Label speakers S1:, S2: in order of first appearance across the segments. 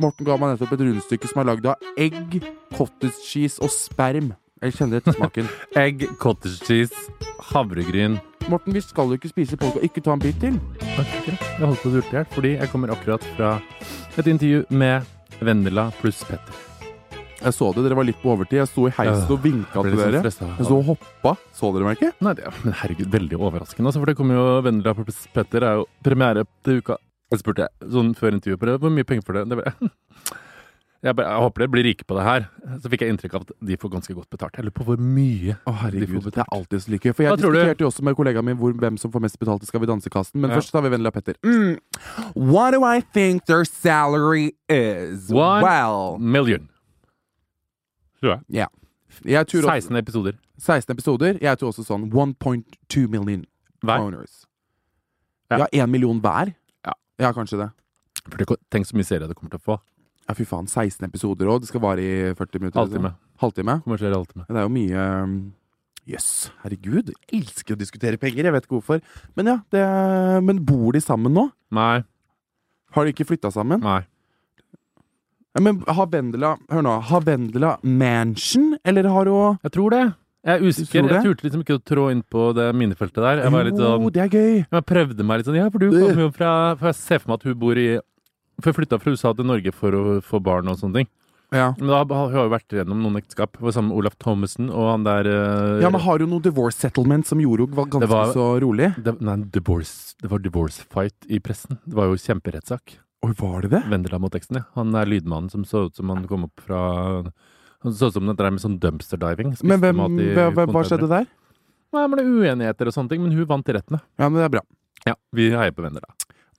S1: Morten ga meg nettopp et rundstykke som er lagd av egg, cottage cheese og sperm. Jeg kjenner etter smaken.
S2: Egg, cottage cheese, havregryn.
S1: Morten, vi skal jo ikke spise polka. Ikke ta en bit til.
S2: Jeg holdt på å dulte i hjel fordi jeg kommer akkurat fra et intervju med Vendela pluss Petter.
S1: Jeg så det, dere var litt på overtid. Jeg sto i heisen og vinka
S2: Ble
S1: til
S2: litt sånn
S1: dere.
S2: stresset.
S1: Jeg så og hoppa. Så dere meg ikke?
S2: Nei, det, men herregud, veldig overraskende. Altså, for det kommer jo Vendela pluss Petter er jo premiere til uka. Jeg spurte jeg sånn før intervjuet på det, hvor mye penger får dere? Det bare, jeg, bare, jeg håper dere blir rike på det her. Så fikk jeg inntrykk av at de får ganske godt betalt. Jeg lurer på hvor mye.
S1: Å, herregud.
S2: De får betalt.
S1: Det er alltid så like gøy. For jeg
S2: Hva tror du?
S1: diskuterte jo også med kollegaen min hvor, hvem som får mest betalt i Skal vi danse-kasten. Men
S2: Ja.
S1: først tar vi Vendela Petter. Mm. What do I think their salary is?
S2: One
S1: Well
S2: Million. Tror jeg.
S1: Ja. Jeg tror også,
S2: 16 episoder
S1: 16 episoder. Jeg tror også sånn 1.2 million
S2: hver.
S1: owners.
S2: Ja.
S1: Ja, én million hver?
S2: Ja.
S1: ja, kanskje det.
S2: For det- tenk så mye seere det kommer til å få.
S1: Ja, fy faen. 16 episoder òg. Det skal vare i 40 minutter.
S2: Halvtime.
S1: liksom. Halvtime.
S2: Kommersiell halvtime.
S1: Ja, Det er jo mye um, Jøss. Yes. Herregud. Jeg elsker å diskutere penger. Jeg vet ikke hvorfor. Men ja, det Men bor de sammen nå?
S2: Nei.
S1: Har de ikke flytta sammen?
S2: Nei.
S1: Ja, men har Vendela Hør nå. Har Vendela mansion, eller har hun
S2: Jeg tror det. Jeg er usikker.
S1: tror det?
S2: Jeg turte liksom ikke å trå inn på det minefeltet der. Jeg var litt sånn
S1: Jo, det er gøy!
S2: Jeg prøvde meg litt sånn Ja, for du kommer jo fra For jeg ser for meg at hun bor i For jeg flytta fra USA til Norge for å få barn og sånne ting.
S1: Ja.
S2: Men da har hun har jo vært gjennom noen ekteskap. Hun var sammen med Olaf Thommessen og han der eh,
S1: ja, men har hun noe divorce settlement som gjorde henne ganske
S2: Det var-
S1: så rolig?
S2: det, Nei, divorce Det var divorce fight i pressen. Det var jo kjemperettssak.
S1: Oi, var det det?
S2: Vendela mot eksen, ja. Han er lydmannen som så ut som han kom opp fra Han så ut som det der med sånn dumpster diving. Spiste
S1: Men hvem,
S2: mat i
S1: hva- hva- hva
S2: containere.
S1: skjedde der?
S2: Nei, men det er uenigheter og sånne ting, men hun vant i rettene.
S1: Ja, men det er bra.
S3: Ja, vi heier på Vendela.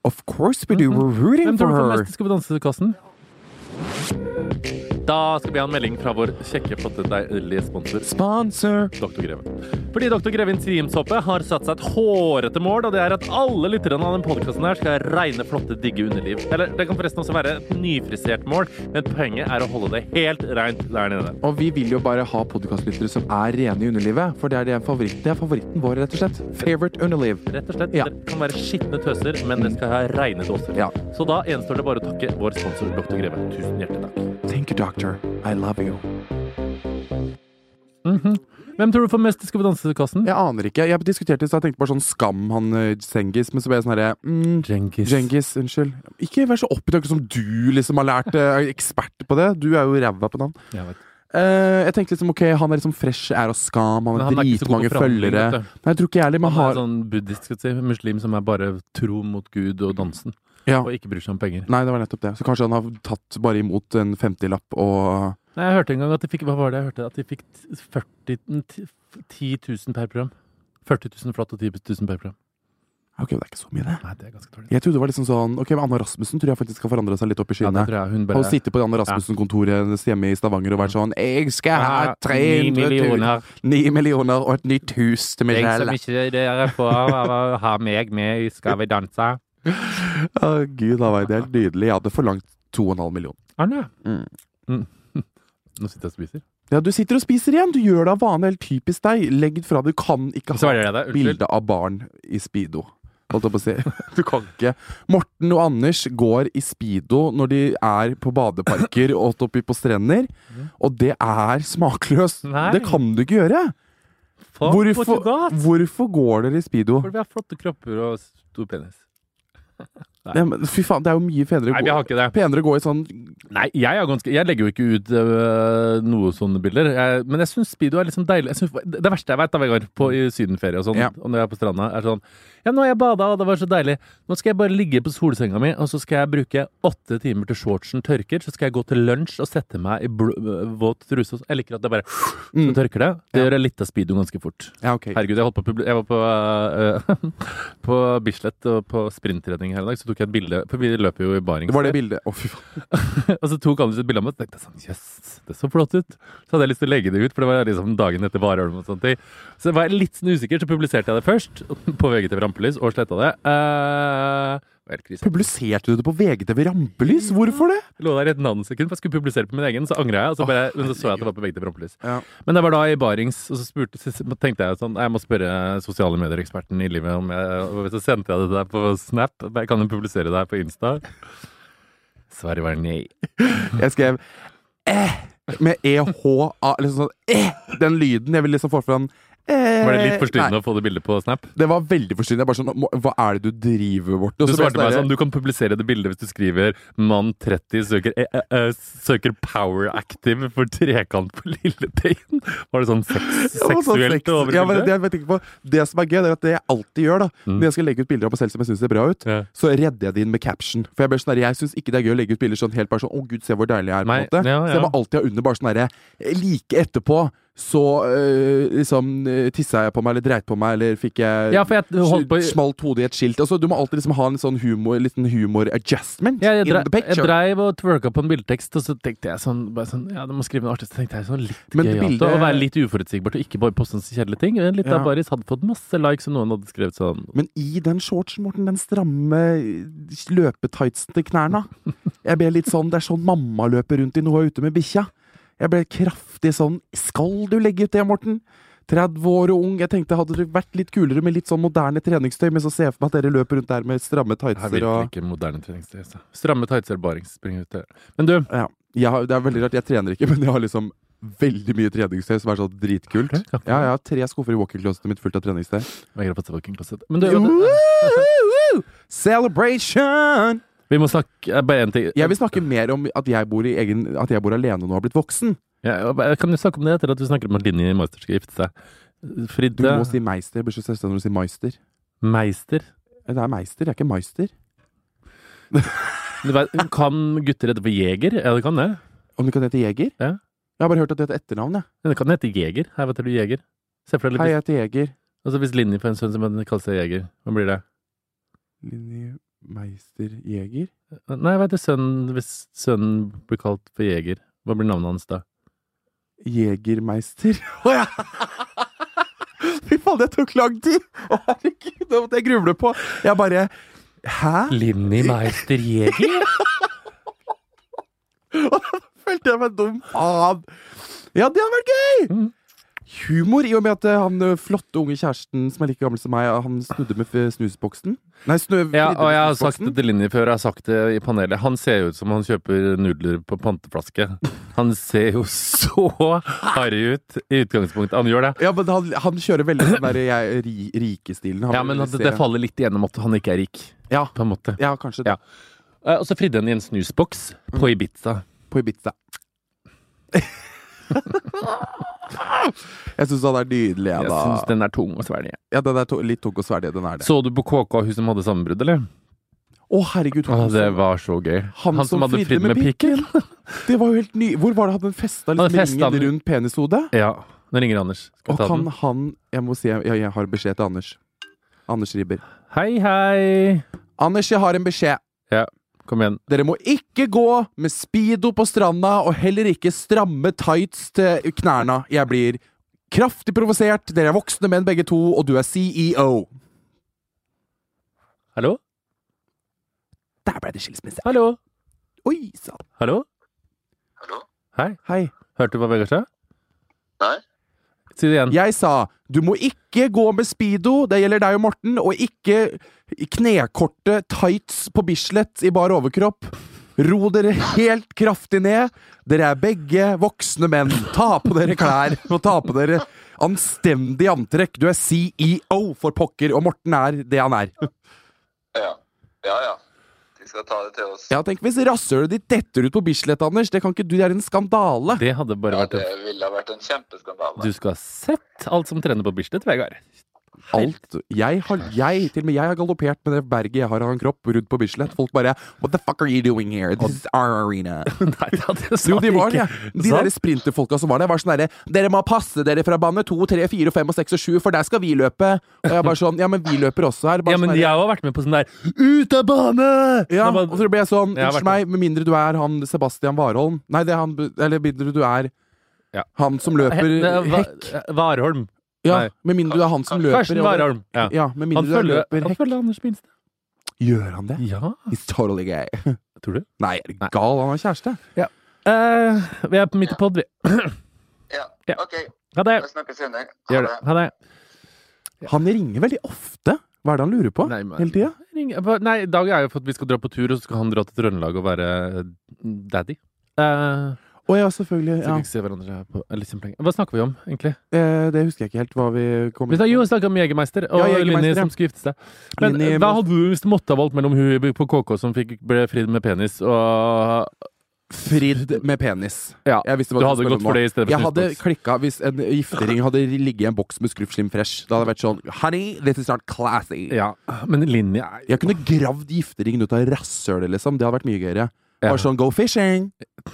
S4: Of course we do. We're rooting
S3: Hvem
S4: for
S3: tror du får
S4: her.
S3: mest i Skal vi danse-kassen? Da skal vi ha en melding fra vår kjekke, flotte, deilige sponsor
S5: Sponsor!
S3: Dr. Greven. Fordi Dr. Greven Sviumsoppe har satt seg et hårete mål, og det er at alle lytterne av denne podkasten her skal regne flotte, digge underliv. Eller det kan forresten også være et nyfrisert mål, men poenget er å holde det helt rent der nede.
S5: Og vi vil jo bare ha podkastlyttere som er rene i underlivet. For det er, det, en favoritt, det er favoritten vår, rett og slett. Favorite underliv.
S3: Rett og slett.
S5: Ja.
S3: Dere kan være skitne tøser, men dere skal ha reine dåser.
S5: Ja.
S3: Så da gjenstår det bare å takke vår sponsor Dr. Greven. Tusen hjertelig takk.
S5: Thank you, doctor. I love you.
S3: Hvem tror du får mest i Skal vi danse-kassen?
S4: Jeg aner ikke. Jeg diskuterte i stad, tenkte bare sånn Skam, han eh, Cengiz, men så ble jeg sånn herre mm,
S3: Djengis.
S4: Cengiz, unnskyld. Ikke vær så opptatt som du liksom har lært eh, er ekspert på det. Du er jo ræva på navn.
S3: Jeg vet.
S4: Eh, jeg tenkte liksom ok, han er liksom fresh er av Skam, han
S3: Men
S4: har
S3: han er ikke så god
S4: dritmange
S3: på forhandling,
S4: følgere.
S3: vet du.
S4: Nei, jeg tror ikke jeg heller, men
S3: Han er
S4: har
S3: sånn buddhist, skal vi si, muslim som er bare tro mot Gud og dansen,
S4: ja.
S3: og ikke bryr seg om penger.
S4: Nei, det var nettopp det. Så kanskje han har tatt bare imot en 50-lapp og
S3: Nei, jeg hørte en gang at de fikk, hva var det jeg hørte, at de fikk 40, n- ti- 10 000 per program. 40 000 flatt og 10 000 per program.
S4: Ok, det er ikke så mye, det.
S3: Nei, det er ganske dårlig.
S4: Jeg trodde det var liksom sånn Ok, men Anna Rasmussen tror jeg faktisk har forandra seg litt opp i
S3: Ja, det
S4: skyene.
S3: tror jeg hun
S4: Og
S3: bare...
S4: sitte på det Anne Rasmussen-kontoret hennes hjemme i Stavanger og være sånn 'Jeg skal ha 300
S3: Ni
S4: 000
S3: millioner.
S4: 9 millioner og et nytt hus til meg
S3: Jeg som
S4: selv'.
S3: ikke dere får ha meg med i Skal vi danse.
S4: Å, gud da var det helt nydelig. Jeg hadde forlangt 2,5 millioner.
S3: Anne?
S4: Mm.
S3: Mm. Nå sitter jeg og spiser.
S4: Ja, du sitter og spiser igjen! Du gjør det av vane. Helt typisk deg. Legg det fra. Du kan ikke ha
S3: Svarer jeg deg? Unnskyld.
S4: bilde av barn i speedo. Holdt jeg på å si. Du kan ikke. Morten og Anders går i speedo når de er på badeparker og holdt oppi på strender, og det er smakløst.
S3: Mhm. Nei.
S4: Det kan du ikke gjøre!
S3: Fuck
S4: Hvorfor,
S3: what you got?
S4: hvorfor går dere i speedo?
S3: Fordi vi har flotte kropper og stor penis.
S4: Nei, men fy faen, det er jo mye fedre å
S3: Nei, vi
S4: gå,
S3: har ikke det.
S4: penere å gå i sånn
S3: Nei, jeg, er ganske, jeg legger jo ikke ut øh, noe sånne bilder. Jeg, men jeg syns speedo er liksom deilig. Jeg synes, det verste jeg vet da, Vegard, på i sydenferie og sånn,
S4: Ja.
S3: og når jeg er på stranda, er sånn Ja, nå har jeg bada, og det var så deilig. Nå skal jeg bare ligge på solsenga mi, og så skal jeg bruke åtte timer til shortsen tørker. Så skal jeg gå til lunsj og sette meg i bl øh, våt truse. og så- Jeg liker at det bare så
S4: Mm.
S3: tørker det. Det
S4: Ja.
S3: gjør jeg litt av speedo ganske fort.
S4: Ja, ok.
S3: Herregud, jeg, holdt på, å publi- jeg var på, øh, på Bislett og på sprinttrening her i dag, så tok jeg et bilde For vi løper jo i
S4: Det
S3: barings.
S4: var det bildet. Å, fy faen.
S3: Og så tok Anders et bilde av meg, og så tenkte jeg sånn Jøss, det så flott ut. Så hadde jeg lyst til å legge det ut, for det var liksom dagen etter Varholm og sånne ting. Så var jeg litt sånn usikker, så publiserte jeg det først på VGTV Rampelys, og sletta det. Eh, det var helt krise.
S4: Publiserte du det på VGTV Rampelys? Hvorfor det?
S3: Jeg lå der i et nanosekund, for jeg skulle publisere på min egen, så angra jeg. Og så bare, men så så jeg at det var på VGTV Rampelys.
S4: Ja.
S3: Men det var da i Barings, og så, spurte, så tenkte jeg sånn Jeg må spørre sosiale medier-eksperten i livet om jeg og Så sendte jeg det der på Snap. Jeg kan jo publisere det her på Insta. Svaret var nei.
S4: Jeg skrev eh, med EHA, liksom sånn eh, den lyden jeg ville liksom få fra den eh,
S3: Var det litt
S4: nei,
S3: forstyrrende å få det bildet på Snap?
S4: Det var veldig forstyrrende. Jeg bare sånn, «Må- Hva er det du driver med, Morten? Og
S3: Du
S4: så ble jeg
S3: svarte meg
S4: der-
S3: sånn, du kan publisere det bildet hvis du skriver 'mann 30 søker, eh, eh, eh, søker power active for trekant på Lilleteien'. Var det sånn sex,
S4: Ja, men sånn
S3: seksuelt
S4: sex-
S3: over
S4: ja, men det, jeg tenker på, det som er gøy, det er at det jeg alltid gjør da
S3: Mm.
S4: Når jeg skal legge ut bilder av meg selv som jeg syns ser bra ut,
S3: Ja.
S4: så redder jeg det inn med caption. For jeg blir sånn der, jeg syns ikke det er gøy å legge ut bilder sånn helt bare sånn Å, gud, se hvor deilig jeg er. på
S3: Nei,
S4: en måte
S3: ja,
S4: Så jeg
S3: ja.
S4: må alltid ha under bare sånn derre Like etterpå så øh, liksom øh, tissa jeg på meg, eller dreit på meg, eller fikk jeg
S3: Ja, for jeg holdt på
S4: sj- Smalt hodet i et skilt. Altså, du må alltid liksom ha en sånn humor, liten humor adjustment
S3: ja, jeg,
S4: in
S3: dre,
S4: the
S3: jeg
S4: picture.
S3: dreiv og twerka på en bildetekst, og så tenkte jeg sånn, bare sånn Ja, du må skrive noe artig. Så tenkte jeg sånn litt
S4: Men det
S3: gøyalt.
S4: bildet-
S3: Å være litt uforutsigbart og ikke bare poste sånne kjedelige ting. Litt
S4: Ja.
S3: av Baris hadde fått masse likes, og noen hadde skrevet sånn
S4: Men i den shortsen, Morten, den stramme løpetightsen til knærne Jeg ble litt sånn, Det er sånn mamma løper rundt i noe ute med bikkja. Jeg ble kraftig sånn Skal du legge ut det, Morten? 30 år og ung. Jeg tenkte hadde det vært litt kulere med litt sånn moderne treningstøy, men så ser jeg for meg at dere løper rundt der med stramme
S3: Her
S4: tightser
S3: virker
S4: og
S3: ikke moderne treningstid. altså. Stramme tightser, barings, springer ut det. Men du,
S4: ja, jeg har, Det er veldig rart. Jeg trener ikke, men jeg har liksom veldig mye treningstøy som er sånn dritkult.
S3: Ok, ja.
S4: Ja, jeg har tre skuffer i walk-in-closetet mitt fullt av treningstøy.
S3: Vegard har fått seg walking-klasse. Men du,
S4: Woo! Celebration!
S3: vi må snakke eh, Bare én ting.
S4: Jeg vil snakke mer om at jeg bor, i egen, at jeg bor alene nå og har blitt voksen.
S3: Ja, og jeg kan jo snakke om det etter at du snakker om at Linni Meister skal gifte seg.
S4: Du
S3: Fridde
S4: må si meister. Jeg blir så stressa når du sier meister.
S3: Meister.
S4: Det er meister, det er ikke meister.
S3: Du vet, kan gutter hete for Jeger? Ja, det kan det.
S4: Om du kan hete Jeger?
S3: Ja.
S4: Jeg har bare hørt at det er et etternavn, jeg.
S3: Men det kan hete Jeger. Hei, hva heter du Jeger? Se for deg
S4: Hei,
S3: litt,
S4: jeg heter Jeger.
S3: altså, Hvis Linni får en sønn som kaller seg Jeger, hva blir det?
S4: Linni Meister Jeger.
S3: Nei, hva heter sønnen hvis sønnen blir kalt for jeger? Hva blir navnet hans da?
S4: Jegermeister. Å ja! Fy faen, det tok lang tid! Å, herregud, det måtte jeg gruble på. Jeg bare Hæ?
S3: Linni Meister Jeger?
S4: Følte jeg meg dum. Faen! Ja, det hadde vært gøy!
S3: Mm.
S4: Humor, i og med at eh, han eh, flotte unge kjæresten som er like gammel som meg, eh, han snudde med f- snusboksen. Nei, snø...
S3: Ja, og jeg har sagt det
S4: snusboksen.
S3: til Linni før, jeg har sagt det i panelet. Han ser jo ut som han kjøper nudler på panteflaske. Han ser jo så harry ut i utgangspunktet. Han gjør det.
S4: Ja, men han, han kjører veldig den der eh, jeg- ri, rikestilen. Han
S3: Ja, men
S4: vil
S3: det,
S4: se-
S3: det faller litt igjennom at han ikke er rik,
S4: Ja,
S3: på en måte.
S4: ja kanskje det.
S3: Ja. Eh, Og så fridde han i en snusboks på
S4: Mm.
S3: Ibiza.
S4: På Ibiza. jeg syns han er nydelig, jeg,
S3: Jeg
S4: da.
S3: syns den er tung å svelge.
S4: Ja, den er to, litt tung og sverdig, den er det.
S3: Så du på KK, hun som hadde sammenbrudd, eller?
S4: Å, herregud,
S3: Å,
S4: han,
S3: det
S4: som-
S3: var så gøy.
S4: Han som
S3: hadde
S4: fridde
S3: fridd
S4: med
S3: med pikken?
S4: det var jo helt ny... Hvor var det han festa
S3: Han
S4: liksom,
S3: festa
S4: ringen
S3: den.
S4: rundt penishodet?
S3: Ja. Nå ringer Anders. Skal
S4: Og
S3: vi ta
S4: kan
S3: den?
S4: han Jeg må si ja, jeg har beskjed til Anders. Anders Riiber.
S3: Hei, hei!
S4: Anders, jeg har en beskjed.
S3: Kom igjen.
S4: Dere må ikke gå med speedo på stranda, og heller ikke stramme tights til knærne. Jeg blir kraftig provosert. Dere er voksne menn begge to, og du er E CEO.
S3: Hallo?
S4: Der ble det skilsmisse.
S3: Hallo?
S4: Oi sann.
S3: Hallo?
S6: Hallo?
S3: Hei.
S4: Hei.
S3: Hørte du hva Vegard sa?
S6: Nei?
S3: Si det igjen.
S4: Jeg sa du må ikke gå med speedo, det gjelder deg og Morten, og ikke knekorte tights på Bislett i bar overkropp. Ro dere helt kraftig ned. Dere er begge voksne menn. Ta på dere klær og ta på dere anstendig antrekk. Du er CEO for pokker, og Morten er det han er.
S6: Ja. Ja, ja. De skal ta det til oss.
S4: Ja, tenk hvis rasshølet ditt detter ut på Bislett, Anders. Det kan ikke du, det er en skandale.
S3: Det hadde bare
S6: Ja,
S3: vært
S6: det
S3: en
S6: ville ha vært en kjempeskandale.
S3: Du skal ha sett alt som trener på Bislett, Vegard.
S4: Alt. Jeg har, jeg, til og med jeg har galoppert med det berget jeg har av en kropp rundt på Bislett. Folk bare What the fuck are you doing here? This is our arena.
S3: Nei, det hadde jeg
S4: Jo, de var det.
S3: ikke.
S4: De
S3: Sant?
S4: der sprinterfolka som var der, var sånn derre Dere må passe dere fra bane 2, 3, 4, 5 og 6 og 7, for der skal vi løpe. Og jeg bare sånn Ja, men vi løper også her. Bare
S3: Ja, men
S4: sånn
S3: jeg
S4: derre-
S3: har vært med på sånn der Ut av bane!
S4: ja,
S3: Det var-
S4: og så ble jeg sånn
S3: Jeg har vært
S4: Unnskyld meg, med mindre du er han Sebastian Warholm Nei, det er han Eller med mindre du er
S3: Ja.
S4: han som løper
S3: He- det var-
S4: hekk.
S3: Warholm.
S4: Ja,
S3: nei.
S4: med mindre du er han som løper
S3: Karsten Warholm. Ja.
S4: Ja, med
S3: Han
S4: mindre du er
S3: følger,
S4: løper
S3: han
S4: hekk.
S3: følger Anders Minstad.
S4: Gjør han det?
S3: Ja,
S4: He's totally gay.
S3: tror du?
S4: Nei, er du
S3: Nei.
S4: gal? Han har kjæreste.
S3: Eh, vi er på midt i pod, vi.
S6: Ja.
S3: Ja.
S6: OK,
S3: Ha
S6: vi
S3: det.
S6: snakkes senere. Ha
S3: Gjør det. Ha det.
S4: Han ringer veldig ofte. Hva er det han lurer på?
S3: Nei, men-
S4: Hele tida?
S3: Ring- hva- Nei, i dag er jo for at vi skal dra på tur, og så skal han dra til Trøndelag og være daddy. Eh,
S4: Å ja, selvfølgelig.
S3: så
S4: Ja.
S3: vi ikke ser hverandre her på eh, litt kjempelenge. Hva snakker vi om, egentlig?
S4: Eh, det husker jeg ikke helt hva vi kom
S3: Vi
S4: inn
S3: snakker,
S4: på.
S3: jo, vi snakker om Jegermeister og
S4: Ja, Jägermeister,
S3: Linni
S4: ja.
S3: som skulle gifte seg. Men
S4: Linni-
S3: hva hadde du hvis du måtte ha valgt mellom hun på KK som fikk, ble fridd med penis, og
S4: Fridd med penis.
S3: Ja,
S4: Jeg visste
S3: du
S4: hva skulle
S3: hadde
S4: spørre
S3: gått
S4: om
S3: for
S4: nå.
S3: det i stedet for
S4: Jeg hadde
S3: snusboks?
S4: klikka hvis en giftering hadde ligget i en boks med Scruff Slim Fresh. Da hadde jeg vært sånn Honey, this is not classy.
S3: Ja, men Linni er
S4: Jeg kunne gravd gifteringen ut av rasshølet, liksom. Det hadde vært mye gøyere.
S3: Ja.
S4: Bare sånn go fishing.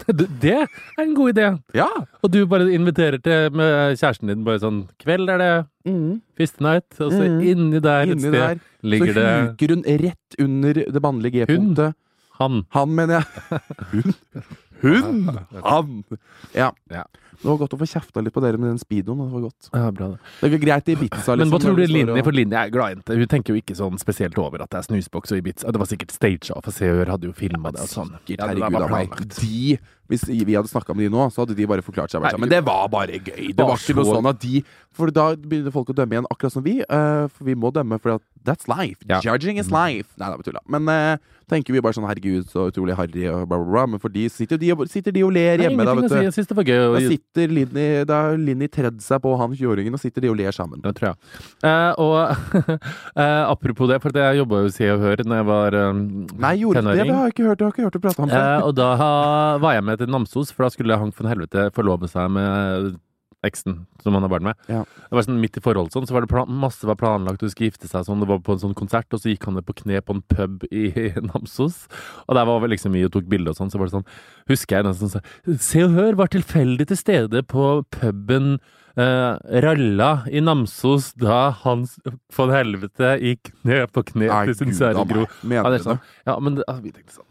S3: Det det er en god idé.
S4: Ja!
S3: Og du bare inviterer til med kjæresten din bare sånn Kveld er det
S4: Mm.
S3: fist night, og så
S4: Mhm.
S3: inni der et
S4: Inni
S3: sted
S4: der. Så
S3: ligger det
S4: huker hun rett under det mannlige G-punktet.
S3: han.
S4: Han, mener jeg. Hun. Hun! Han! Ja.
S3: Ja.
S4: Det var godt å få kjefta litt på dere med den speedoen. Det var godt.
S3: Ja, bra det.
S4: Det er greit i Ibiza, liksom.
S3: Men hva tror
S4: når
S3: du
S4: vi står
S3: Linni
S4: og-
S3: For Linni er glad jente. Hun tenker jo ikke sånn spesielt over at det er snusboks og Ibiza. Det var sikkert staged, for Se og Hør hadde jo filma det og sånn.
S4: Sikkert,
S3: Ja, det
S4: herregud
S3: var
S4: av meg.
S3: planlagt.
S4: De, hvis vi hadde snakka med de nå, så hadde de bare forklart seg. Bare, sånn, men det var bare gøy. Det
S3: Bare
S4: var ikke noe
S3: så-
S4: sånn at de For da begynner folk å dømme igjen, akkurat som vi. eh, for vi må dømme, for at that's life.
S3: Ja.
S4: Judging is life. Nei, det er bare tulla. Men eh, tenker vi bare sånn herregud, så utrolig harry og bla, bla, bla. Men for de sitter, de, og- sitter de og ler
S3: Det er
S4: hjemme, da,
S3: ingenting
S4: vet
S3: å si.
S4: du.
S3: Jeg syns det var gøy.
S4: Da
S3: å-
S4: sitter Linni Da har Linni tredd seg på han 20-åringen, og sitter de og ler sammen.
S3: Det tror jeg. Eh, og eh, apropos det, for at jeg jobba jo i Se og Hør da jeg var eh,
S4: Nei, gjorde du det? Det har jeg ikke hørt, jeg har ikke hørt å prate om før.
S3: Eh, og da var jeg med til Namsos, for da skulle han for helvete forlove seg med eksen som han har barn med.
S4: Ja.
S3: Det var sånn midt i forhold sånn, så var det plan masse var planlagt, hun skulle gifte seg sånn, det var på en sånn konsert, og så gikk han ned på kne på en pub i Namsos, og der var vi liksom vi og tok bilder og sånn, så var det sånn, husker jeg den som sa, Se og Hør var tilfeldig til stede på puben eh, ralla i Namsos da Hans von Helvete gikk ned på kne
S4: Nei,
S3: til sin
S4: Gud,
S3: kjære
S4: da,
S3: Gro.
S4: nei. Mener
S3: Ja, det
S4: du
S3: er sant. Ja, men det, altså, vi tenkte sånn.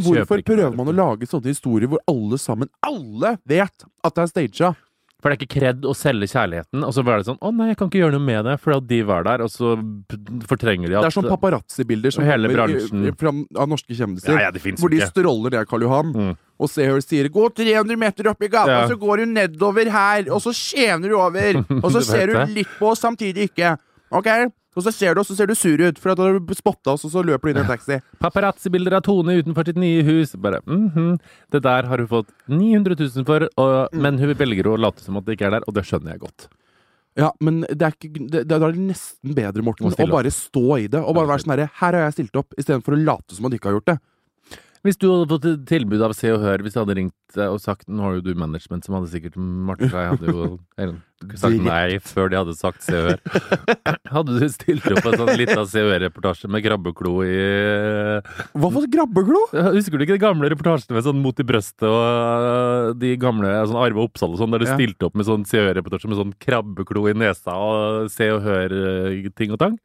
S3: Folk kjøper
S4: hvorfor
S3: ikke
S4: prøver man å
S3: Helvete.
S4: lage sånne historier hvor alle sammen Alle vet at det er staged?
S3: For det er ikke kred å selge kjærligheten, og så var det sånn 'Å nei, jeg kan ikke gjøre noe med det', fordi at de var der, og så b- fortrenger de at
S4: Det er sånn paparazzi-bilder som
S3: Hele
S4: kommer i-
S3: bransjen.
S4: i- fram av norske kjendiser.
S3: Ja, ja, det finnes jo
S4: hvor de
S3: ikke.
S4: stroller ned Karl Johan,
S3: Mm.
S4: og Se Her sier 'gå 300 meter opp i gata',
S3: Ja.
S4: og så går hun nedover her, og så skjener du over, og så
S3: Du
S4: ser
S3: vet det.
S4: du litt på oss, samtidig ikke. Ok? Og så ser du oss, og så ser du sur ut, for at du har spotta oss, og så løper du inn i en taxi.
S3: Paparazzi-bilder av Tone utenfor sitt nye hus. Bare, mhm, Det der har hun fått 900 000 for, og,
S4: Mm.
S3: men hun velger å late som at det ikke er der, og det skjønner jeg godt.
S4: Ja, men det er ikke det, det, Da er det nesten bedre, Morten,
S3: Må
S4: å
S3: stille opp.
S4: bare stå i det, og bare være sånn herre 'her har jeg stilt opp', istedenfor å late som man ikke har gjort det.
S3: Hvis du hadde fått et tilbud av Se og Hør, hvis jeg hadde ringt eh, og sagt Nå har jo du management som hadde sikkert Marte og jeg hadde jo eller, sagt nei før de hadde sagt Se og Hør. Hadde du stilt opp en sånn lita Se og Hør-reportasje med krabbeklo i
S4: Hva for grabbeglo?
S3: Ja, Husker du ikke de gamle reportasjene med sånn mot i brøstet og øh, de gamle sånn Arve Oppsal og sånn, der de
S4: Ja.
S3: stilte opp med sånn Se og Hør-reportasje med sånn krabbeklo i nesa og Se og Hør-ting og tang?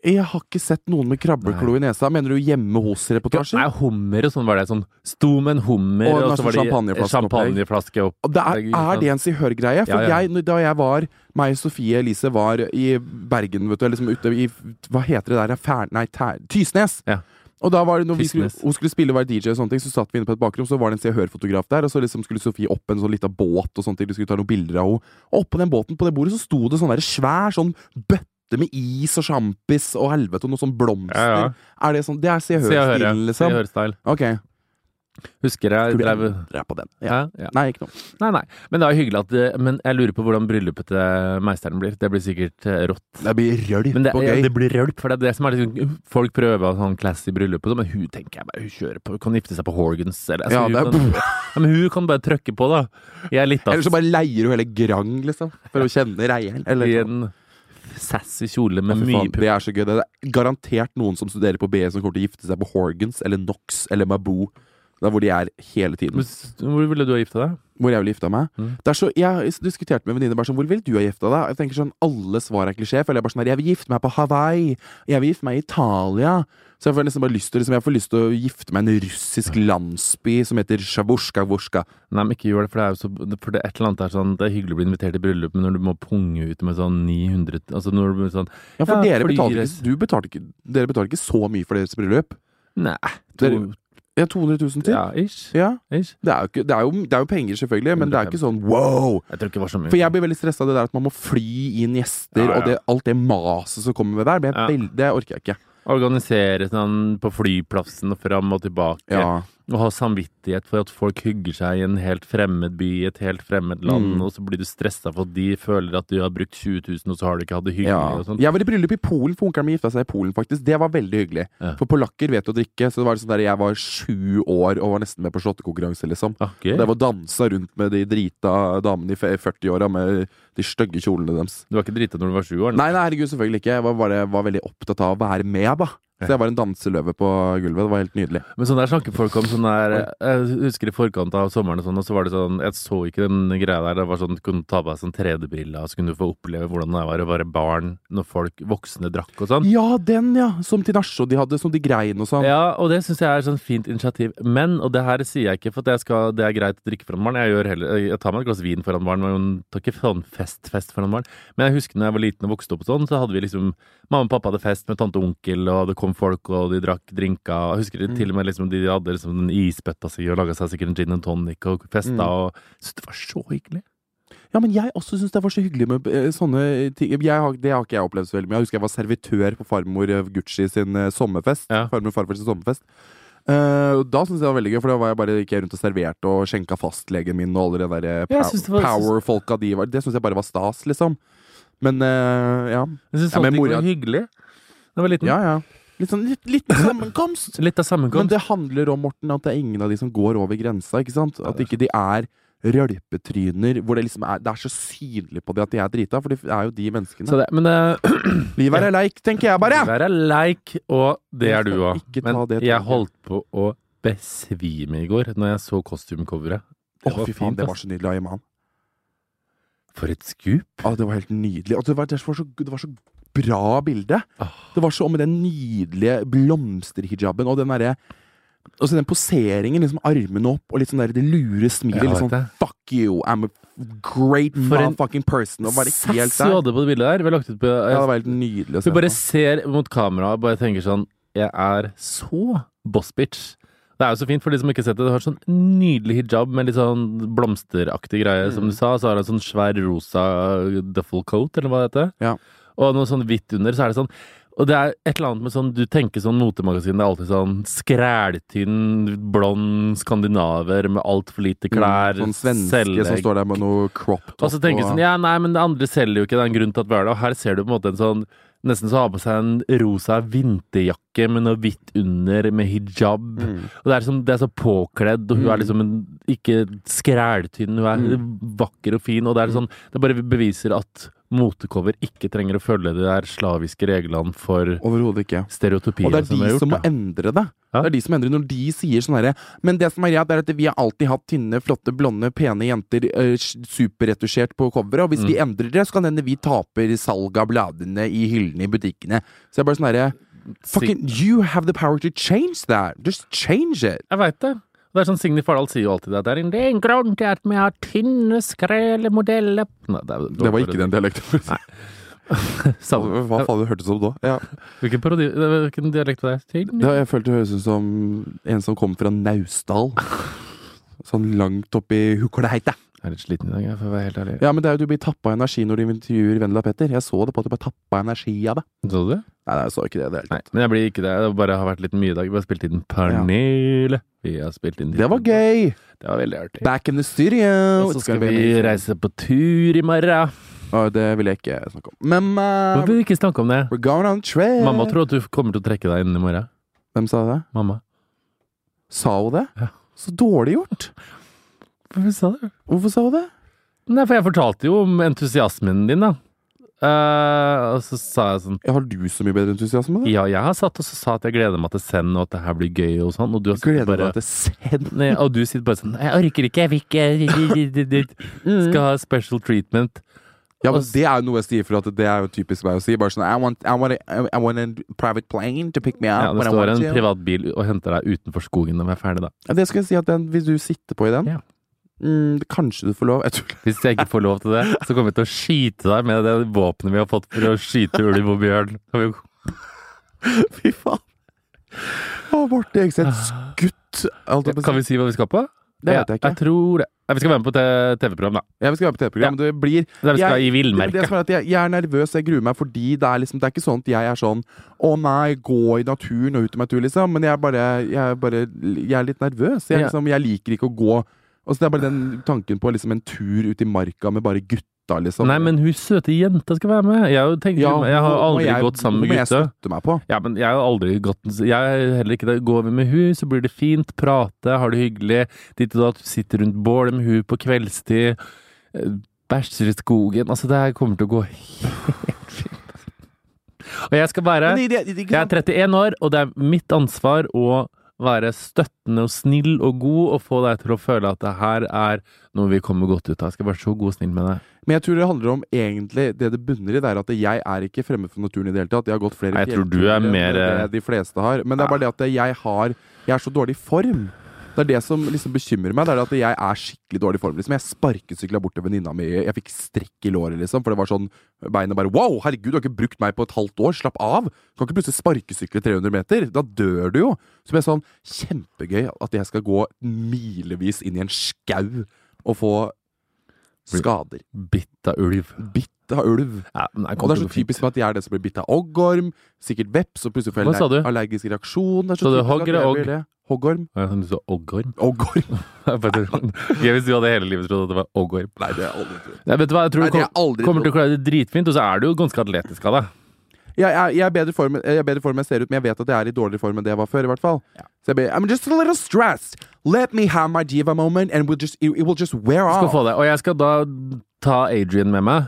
S4: Jeg har ikke sett noen med krabbeklo i nesa. Mener du hjemme hos-reportasjer?
S3: Nei, hummer og sånn var det. Sånn sto med en hummer,
S4: Og
S3: og,
S4: en
S3: så var det
S4: champagneflaske-
S3: champagneflaske opp.
S4: Og Det er, er det en se-hør-greie? For
S3: Ja, ja.
S4: Jeg, da jeg var meg, Sofie Elise var i Bergen, vet du, eller liksom ute i Hva heter det der? Fær, nei, tær, Tysnes!
S3: Ja.
S4: Og da var det når vi skulle,
S3: Tysnes.
S4: hun skulle spille og være DJ, og sånne ting, så satt vi inne på et bakrom, så var det en Se og Hør-fotograf der, og så liksom skulle Sofie opp en sånn lita båt, og sånne ting, de skulle ta noen bilder av henne. Og oppå den båten, på det bordet, så sto det sånn der svær sånn bøtte med is og sjampis og helvete og noe sånn blomster.
S3: Ja, ja.
S4: Er det sånn, det er Se og
S3: Se og Hør, ja.
S4: Hør-stilen,
S3: Se og
S4: liksom?
S3: Hør-style.
S4: Ok.
S3: Husker jeg
S4: Skulle
S3: drev
S4: endre på den. Ja.
S3: ja, ja.
S4: Nei, ikke noe.
S3: Nei, nei. Men det er jo hyggelig at det- Men jeg lurer på hvordan bryllupet til meisteren blir. Det blir sikkert eh, rått.
S4: Det blir rølp
S3: Men det,
S4: og
S3: ja,
S4: gøy.
S3: det blir rølp, for det er det som er liksom, Folk prøver sånn classy bryllup, og så, men hun tenker jeg bare, hun kjører på, hun kan gifte seg på Horgans. Eller, altså,
S4: Ja, det er-
S3: hun, kan, ja, men hun kan bare trykke på, da. Jeg er litt av
S4: Eller så bare leier du hele Grang, liksom. For å kjenne reieren. Eller,
S3: i en sassy kjole med
S4: Fy
S3: mye
S4: faen,
S3: pupp.
S4: det er så gøy. Det er garantert noen som studerer på BI, som kommer til å gifte seg på Horgans eller Knox eller Mabou. Der hvor de er hele tiden.
S3: Hvor ville du ha gifta deg?
S4: Hvor jeg ville gifta meg.
S3: Mm.
S4: Det er så, jeg diskuterte med en venninne bare sånn Hvor ville du ha gifta deg? Jeg tenker sånn, Alle svar er klisjé. Føler jeg bare sånn her Jeg vil gifte meg på Hawaii. Jeg vil gifte meg i Italia. Så jeg får liksom bare lyst til liksom, Jeg får lyst til å gifte meg i en russisk landsby som heter Sjabushka-vushka.
S3: Nei, men ikke gjør det, for det er jo så For det er et eller annet der sånn Det er hyggelig å bli invitert i bryllup, men når du må punge ut med sånn 900 Altså når du blir sånn
S4: Ja, for
S3: Ja,
S4: dere,
S3: fordi-
S4: betalte ikke, du betalte ikke, dere betalte ikke så mye for deres bryllup.
S3: Nei.
S4: Dere-
S3: to-
S4: Ja, 200 000 til?
S3: ja, ish,
S4: Ja.
S3: ish.
S4: Det er, jo ikke, det, er jo, det er jo penger, selvfølgelig, men det er ikke sånn wow!
S3: Jeg tror ikke det var så mye.
S4: For jeg blir veldig stressa av det der at man må fly inn gjester,
S3: Ja, ja.
S4: og det, alt det maset som kommer med der, blir jeg
S3: Ja.
S4: veld- det orker jeg ikke.
S3: Organisere sånn på flyplassen og fram og tilbake.
S4: Ja.
S3: Å ha samvittighet for at folk hygger seg i en helt fremmed by, i et helt fremmed land,
S4: Mm.
S3: og så blir du stressa for at de føler at du har brukt 20 000, og så har du ikke hatt det hyggelig
S4: Ja.
S3: og sånn.
S4: Jeg var i bryllup i Polen, for onkelen min gifta seg i Polen, faktisk. Det var veldig hyggelig.
S3: Ja.
S4: For polakker vet å drikke, så det var sånn der jeg var sju år og var nesten med på slåttekonkurranse, liksom.
S3: Ah,
S4: Og
S3: gøy.
S4: Det var dansa rundt med de drita damene i fe- 40-åra med de stygge kjolene deres.
S3: Du var ikke drita når du var sju år? da.
S4: Nei, nei, herregud, selvfølgelig ikke. Jeg var, bare, var veldig opptatt av å være med, da. Så jeg var en danseløve på gulvet. Det var helt nydelig.
S3: Men sånn der snakker folk om sånn der Jeg husker i forkant av sommeren og sånn, og så var det sånn Jeg så ikke den greia der. Det var sånn Du kunne ta på deg sånn 3D-briller, og så kunne du få oppleve hvordan det var å være barn når folk voksne drakk og sånn.
S4: Ja, den, ja! Som Tinashe og de hadde, som de grein og sånn.
S3: Ja, og det syns jeg er et sånn fint initiativ. Men, og det her sier jeg ikke for at jeg skal, det er greit å drikke foran barn. Jeg, gjør heller, jeg tar meg et glass vin foran barn, men jeg tar ikke sånn fest-fest foran barn. Men jeg husker når jeg var liten og vokste opp og sånn, så hadde vi liksom Mamma og pappa hadde fest med tante og onkel, og det kom folk, og de drakk drinka. og Jeg husker til og med liksom de hadde liksom den isbøtta si og laga seg sikkert en gin and tonic og festa
S4: Mm.
S3: og Så det var så hyggelig.
S4: Ja, men jeg også syns det var så hyggelig med eh, sånne ting. Jeg, har- det har ikke jeg opplevd så veldig mye. Jeg husker jeg var servitør på farmor eh, Gucci sin eh, sommerfest.
S3: Ja.
S4: Farmor og farfar sin sommerfest. Eh, og da syntes jeg det var veldig gøy, for da var jeg bare, gikk jeg rundt og serverte og skjenka fastlegen min og alle de der eh,
S3: Ja, jeg
S4: pow-
S3: synes det var-
S4: power-folka de var. Det syns jeg bare var stas, liksom. Men eh, ja.
S3: Jeg syns
S4: Ja, men
S3: sånne ting
S4: mora-
S3: var hyggelig. Da jeg var liten.
S4: Ja, ja. Litt sånn litt, litt sammenkomst.
S3: Litt av
S4: Men
S3: sammenkomst.
S4: det handler om, Morten, at det er ingen av de som går over grensa, ikke sant? At
S3: det er
S4: ikke de er rølpetryner, hvor det liksom er, det er så synlig på det at de er drita, for det er jo de menneskene.
S3: Så det, men det
S4: Livet er leik, tenker jeg bare!
S3: Vær er leik, og det er du òg.
S4: Ikke ta
S3: Men
S4: det
S3: jeg
S4: toget.
S3: holdt på å besvime i går når jeg så kostymecoveret.
S4: Å, fy faen, det var
S3: ass.
S4: så nydelig av Iman.
S3: For et skup.
S4: Å, det var helt nydelig. Og det var, det var, så, det var så bra bilde.
S3: Ah.
S4: Det var så og med den nydelige blomsterhijaben og den derre og så den poseringen, liksom armene opp og litt sånn der, det lure smilet.
S3: Jeg vet
S4: Liksom,
S3: det.
S4: Fuck you, I'm a great
S3: For en
S4: motherfucking person. Og bare helt
S3: Sass du
S4: der.
S3: hadde på det bildet der. Vi har lagt ut på
S4: Ja, det var helt nydelig å se
S3: Du bare
S4: på.
S3: ser mot kamera og bare tenker sånn Jeg er så boss bitch. Det er jo så fint for de som ikke har sett det. Du har sånn nydelig hijab med litt sånn blomsteraktig greie, som
S4: Mm.
S3: du sa. Så har du en sånn svær rosa duffel coat, eller hva det heter.
S4: Ja.
S3: Og noe sånn hvitt under. Så er det sånn og det er et eller annet med sånn, Du tenker sånn motemagasin, det er alltid sånn skræltynn, blond skandinaver med altfor lite klær.
S4: Sånn svenske som
S3: selvlegg.
S4: står der med noe crop top.
S3: Og så tenker jeg
S4: og-
S3: sånn, ja, nei, men det andre selger jo ikke, det er en grunn til at vi er der. Og her ser du på en måte en sånn, nesten så har på seg en rosa vinterjakke med noe hvitt under, med hijab.
S4: Mm.
S3: Og det er, som, det er så påkledd, og hun er liksom en, ikke skræltynn, hun er
S4: Mm.
S3: vakker og fin. Og det er sånn, det bare beviser at motecover ikke trenger å følge de der slaviske reglene for
S4: Overhodet ikke.
S3: stereotypier
S4: Og det er
S3: vi
S4: de
S3: har
S4: som må
S3: da.
S4: endre det.
S3: Ja.
S4: Det er de som endrer når de sier sånn herre Men det som er greit, er at vi har alltid hatt tynne, flotte, blonde, pene jenter eh, superretusjert på coveret, og hvis vi endrer det, så kan det hende vi taper salg av bladene i hyllene i butikkene. Så jeg er bare sånn herre Fucking you have the power to change that! Just change it!
S3: Jeg veit det. Og Det er sånn Signe Fardal sier jo alltid at det er en, det er en grunn til at vi har tynne, skrelle modeller Nei, det, er-
S5: Det var ikke den dialekten.
S3: Samme.
S4: altså,
S5: Hva faen det hørtes som da? Ja.
S3: Hvilken, parodi, eh, hvilken dialekt var det? Tynn?
S4: Det har jeg følt det høres ut som en som kommer fra Naustdal. Sånn langt oppi hukleheite.
S3: Jeg er litt sliten i dag, jeg, for å være helt ærlig.
S4: Ja, men det er jo du blir tappa av energi når du intervjuer Vendela Petter. Jeg så det på at du ble tappa av energi av det.
S3: Så du det?
S4: Nei, nei, jeg så ikke det. det er helt-
S3: Nei, men jeg blir ikke det. Det bare har vært litt mye i dag. Vi har spilt inn Pernille. Vi har spilt inn
S4: Det var gøy!
S3: Det var veldig artig.
S4: Back in the studio!
S3: Og så skal vi reise på tur i morgen.
S4: Å, det vil jeg ikke snakke om. Men
S3: Hvorfor
S4: uh,
S3: vil vi ikke snakke om det?
S4: we're going on trip!
S3: Mamma tror at du kommer til å trekke deg innen i morgen.
S4: Hvem sa det?
S3: Mamma.
S4: Sa hun det?
S3: Ja.
S4: Så dårlig gjort!
S3: Hvorfor sa du
S4: Hvorfor sa hun det?
S3: Nei, for jeg fortalte jo om entusiasmen din, da. Eh, og så sa jeg sånn
S4: Ja, har du så mye bedre entusiasme? Da?
S3: Ja, jeg har satt og så sa at jeg gleder meg til Send, og at det her blir gøy og sånn. Og du har sittet
S4: Gleder
S3: bare
S4: meg til send.
S3: Nei, og du sitter bare sånn Jeg orker ikke, jeg vil ikke
S4: Mm.
S3: Skal ha special treatment
S4: Ja, men
S3: Og s-
S4: det er jo noe jeg sier, for at det er jo typisk meg å si. Bare sånn I want, I want, a, I want a private plane to pick me up.
S3: ja, Det
S4: when I
S3: står en
S4: want to.
S3: privat bil og henter deg utenfor skogen når vi er ferdig da
S4: Ja, det skal jeg si at den, Hvis du sitter på i den,
S3: Ja.
S4: mm, kanskje du får lov. Jeg tror
S3: Hvis jeg ikke får lov til det Så kommer vi til å skyte deg med det våpenet vi har fått For å skyte ulv og bjørn Og vi-
S4: Fy faen. Å, Morten Ekseth skutt. Alt jeg
S3: Ah. Kan vi si hva vi skal på?
S4: Det vet jeg
S3: Ja,
S4: ikke.
S3: jeg tror det Nei, Vi skal være med på te- TV-program da
S4: Jeg skal være på TV-program. Det blir
S3: Der vi skal
S4: Jeg-
S3: i
S4: Det
S3: Vildmerka
S4: som er at jeg, jeg er nervøs, jeg gruer meg fordi det er liksom Det er ikke sånn at jeg er sånn Å nei, gå i naturen og ut om en tur, liksom. Men jeg er bare Jeg er, bare, jeg er litt nervøs. Jeg, er
S3: Ja.
S4: liksom, jeg liker ikke å gå Og så Det er bare den tanken på liksom en tur ut i marka med bare gutta, liksom.
S3: Nei, men hun søte jenta skal være med Jeg, har jo tenkt- jeg har
S4: må- må
S3: aldri
S4: jeg-
S3: gått sammen med
S4: må jeg
S3: gutta
S4: støtte meg på.
S3: Ja, men jeg har jo aldri gått Jeg er heller ikke det. Går vi med hun, så blir det fint. Prate, har det hyggelig. Ditt og datt. Sitter rundt bålet med hun på kveldstid. eh, Bæsjer i skogen. Altså, det her kommer til å gå helt fint. Og jeg skal være
S4: Men i det, i det, ikke
S3: Jeg er
S4: sant?
S3: 31 år, og det er mitt ansvar å være støttende og snill og god, og få deg til å føle at det her er noe vi kommer godt ut av. Jeg skal være så god og snill med deg.
S4: Men jeg tror det handler om egentlig Det det bunner i, det er at jeg er ikke fremmed for naturen i det hele tatt. Jeg har gått flere
S3: Nei, jeg tror du er
S4: fjellturer enn
S3: mer, eh,
S4: det de fleste har. Men det er bare det at jeg har Jeg er så dårlig i form. Det er det som liksom bekymrer meg. Det er at jeg er skikkelig dårlig i form. Liksom. Jeg sparkesykla bort til venninna mi. Jeg fikk strekk i låret, liksom. For det var sånn Beinet bare Wow, herregud, du har ikke brukt meg på et halvt år. Slapp av. Du kan ikke plutselig sparkesykle 300 meter. Da dør du jo. Så ble jeg sånn Kjempegøy at jeg skal gå milevis inn i en skau og få skader.
S3: Bitt av ulv.
S4: Bitt av ulv.
S3: Ja, men det
S4: Og det
S3: kommer til å
S4: er så
S3: gå fint.
S4: typisk med at jeg er det som blir bitt av hoggorm, sikkert veps, og plutselig får jeg
S3: Hva sa
S4: aller-
S3: du?
S4: allergisk reaksjon. Det er
S3: Sa
S4: så,
S3: du
S4: typisk at
S3: hogg eller
S4: jeg
S3: ogg?
S4: blir det. Hoggorm.
S3: Ja, sånn Du sa oggorm?
S4: Hoggorm.
S3: Det er faktisk sånn. Gøy hvis du hadde hele livet trodd at det var Ågorm.
S4: Nei, det er aldri trodd.
S3: Nei, vet du hva, jeg tror
S4: Nei,
S3: du
S4: det er
S3: kom,
S4: aldri
S3: kommer til
S4: trodd.
S3: å klare det dritfint, og så er du jo ganske atletisk av deg.
S4: Jeg, jeg, jeg, er bedre form, jeg er bedre form enn jeg ser ut, men jeg vet at jeg er i dårligere form enn det jeg var før, i hvert fall. Så jeg blir I'm just a little stressed. Let me have my diva moment, and we'll just, it, it will just wear
S3: Skal
S4: off.
S3: få det. Og jeg skal da ta Adrian med meg.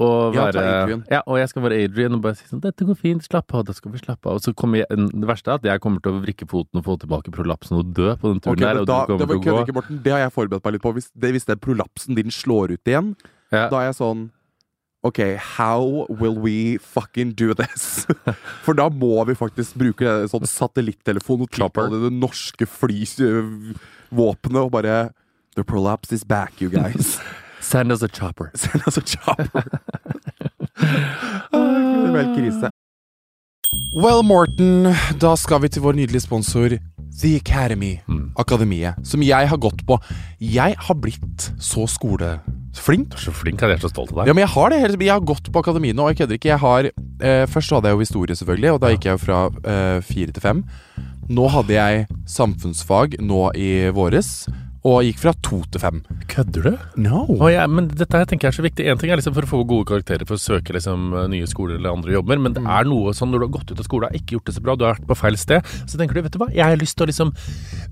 S3: Og
S4: Ja, ta
S3: være,
S4: Adrian.
S3: ja, og jeg skal være Adrian og bare si sånn 'Dette går fint, slapp av.' Da skal vi slappe av. Og så kommer jeg, Det verste er at jeg kommer til å vrikke foten og få tilbake prolapsen og dø på den turen
S4: Ok,
S3: der.
S4: men
S3: Og
S4: da,
S3: du kommer
S4: det, var,
S3: til å
S4: kødder
S3: gå
S4: ikke, Morten, det har jeg forberedt meg litt på. Hvis, det, hvis den prolapsen din slår ut igjen,
S3: Ja.
S4: Da er jeg sånn OK, how will we fucking do this? For da må vi faktisk bruke en sånn satellittelefon og tilkalle det norske flyvåpenet og bare The prolapse is back, you guys.
S3: Send us a chopper.
S4: Send oss en chopper. Ah, det blir helt krise.
S5: Well, Morten, da skal vi til vår nydelige sponsor The Academy. Akademiet. Som jeg har gått på. Jeg har blitt så skoleflink.
S7: Så flink, jeg er så stolt av deg.
S5: Ja, men jeg har det. helt- Jeg har gått på akademiet nå, og jeg kødder ikke. Jeg har, eh, først så hadde jeg jo historie, selvfølgelig, og da gikk jeg jo fra eh, fire til fem. Nå hadde jeg samfunnsfag nå i våres, og gikk fra to til fem.
S7: Kødder du?
S5: No.
S7: Å, ja, men dette her tenker jeg er så viktig. En ting er liksom for å få gode karakterer for å søke liksom, nye skoler eller andre jobber, men det
S3: Mm.
S7: er noe sånn når du har gått ut av skolen, ikke gjort det så bra, du har vært på feil sted, så tenker du vet du hva, jeg har lyst til å liksom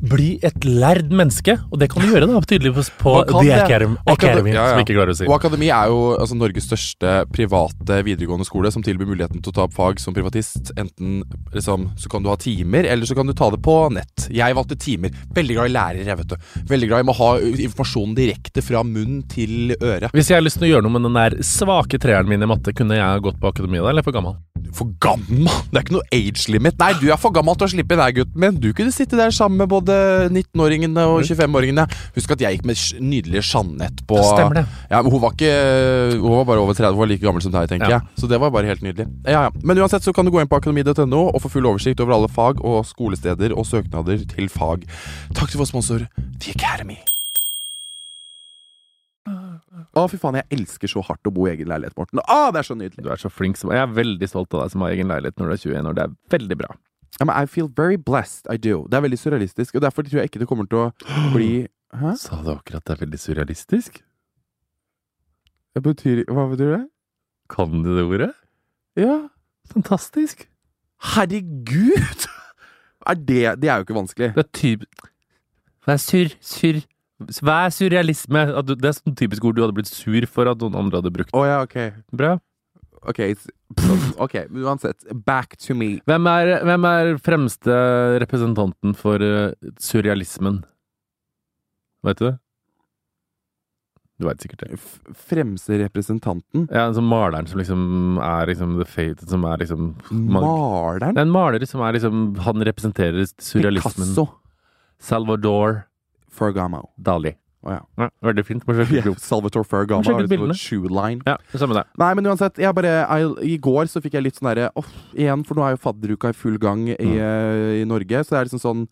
S7: bli et lærd menneske, og det kan du gjøre da, tydeligvis på
S5: Man kan
S7: The
S5: det.
S7: Academy,
S5: Man kan det.
S7: Academy
S5: Ja, ja.
S7: som ikke klarer å si.
S5: Og Akademi er jo altså, Norges største private videregående skole som tilbyr muligheten til å ta opp fag som privatist. Enten liksom, så kan du ha timer, eller så kan du ta det på nett. Jeg valgte timer. Veldig glad i lærere, jeg, vet du. Veldig glad i å ha informasjonen direkte fra munn til øre.
S7: Hvis jeg har lyst til å gjøre noe med den der svake treeren min i matte, kunne jeg gått på akademiet da, eller er jeg for gammel?
S5: For gammel! Det er ikke noe age limit. Nei, du er for gammel til å slippe inn her, gutten min. Du kunne sitte der sammen med både 19-åringene og 25-åringene. Husk at jeg gikk med sj- nydelige Jeanette på
S7: Stemmer det.
S5: Ja, men hun var ikke Hun var bare over 30, hun var like gammel som deg, tenker
S7: Ja.
S5: jeg. Så det var bare helt nydelig. Ja, ja. Men uansett så kan du gå inn på akademi.no og få full oversikt over alle fag og skolesteder og søknader til fag. Takk til vår sponsor The Academy.
S4: Å, fy faen, jeg elsker så hardt å bo i egen leilighet, Morten. Å, det er så nydelig.
S3: Du er så flink som Jeg er veldig stolt av deg som har egen leilighet når du er 21 år. Det er veldig bra.
S4: Ja, men I feel very blessed, I do. Det er veldig surrealistisk, og derfor tror jeg ikke det kommer til å bli Hæ?
S3: Sa du akkurat det er veldig surrealistisk?
S4: Det betyr Hva betyr det?
S3: Kan du det ordet?
S4: Ja.
S3: Fantastisk.
S4: Herregud! Er det Det er jo ikke vanskelig.
S3: Det er typ... Hva er sur... sur... Hva er surrealisme? At du, det er sånn typisk ord du hadde blitt sur for at noen andre hadde brukt.
S4: Å ja, ok.
S3: Bra.
S4: Ok, it's- pff, ok, men uansett. Back to me.
S3: Hvem er, hvem er fremste representanten for eh, surrealismen? Vet du det? Du veit sikkert det.
S4: F fremste representanten.
S3: Ja, altså maleren som liksom er liksom the fate Som er liksom
S4: Maleren?
S3: Det er en maler som er liksom Han representerer surrealismen.
S4: Picasso.
S3: Salvador
S4: Fergamo.
S3: Dali.
S4: Å ja.
S3: Ja, veldig fint. Må sjekke opp.
S4: Salvatore Fergamo.
S3: Sjekk ut
S4: har liksom
S3: bildene.
S4: et shoeline.
S3: Ja, det samme det.
S4: Nei, men uansett. Jeg bare, I, I går så fikk jeg litt sånn derre «Åh, Igjen, for nå er jo fadderuka i full gang i, eh, i Norge. Så det er liksom sånn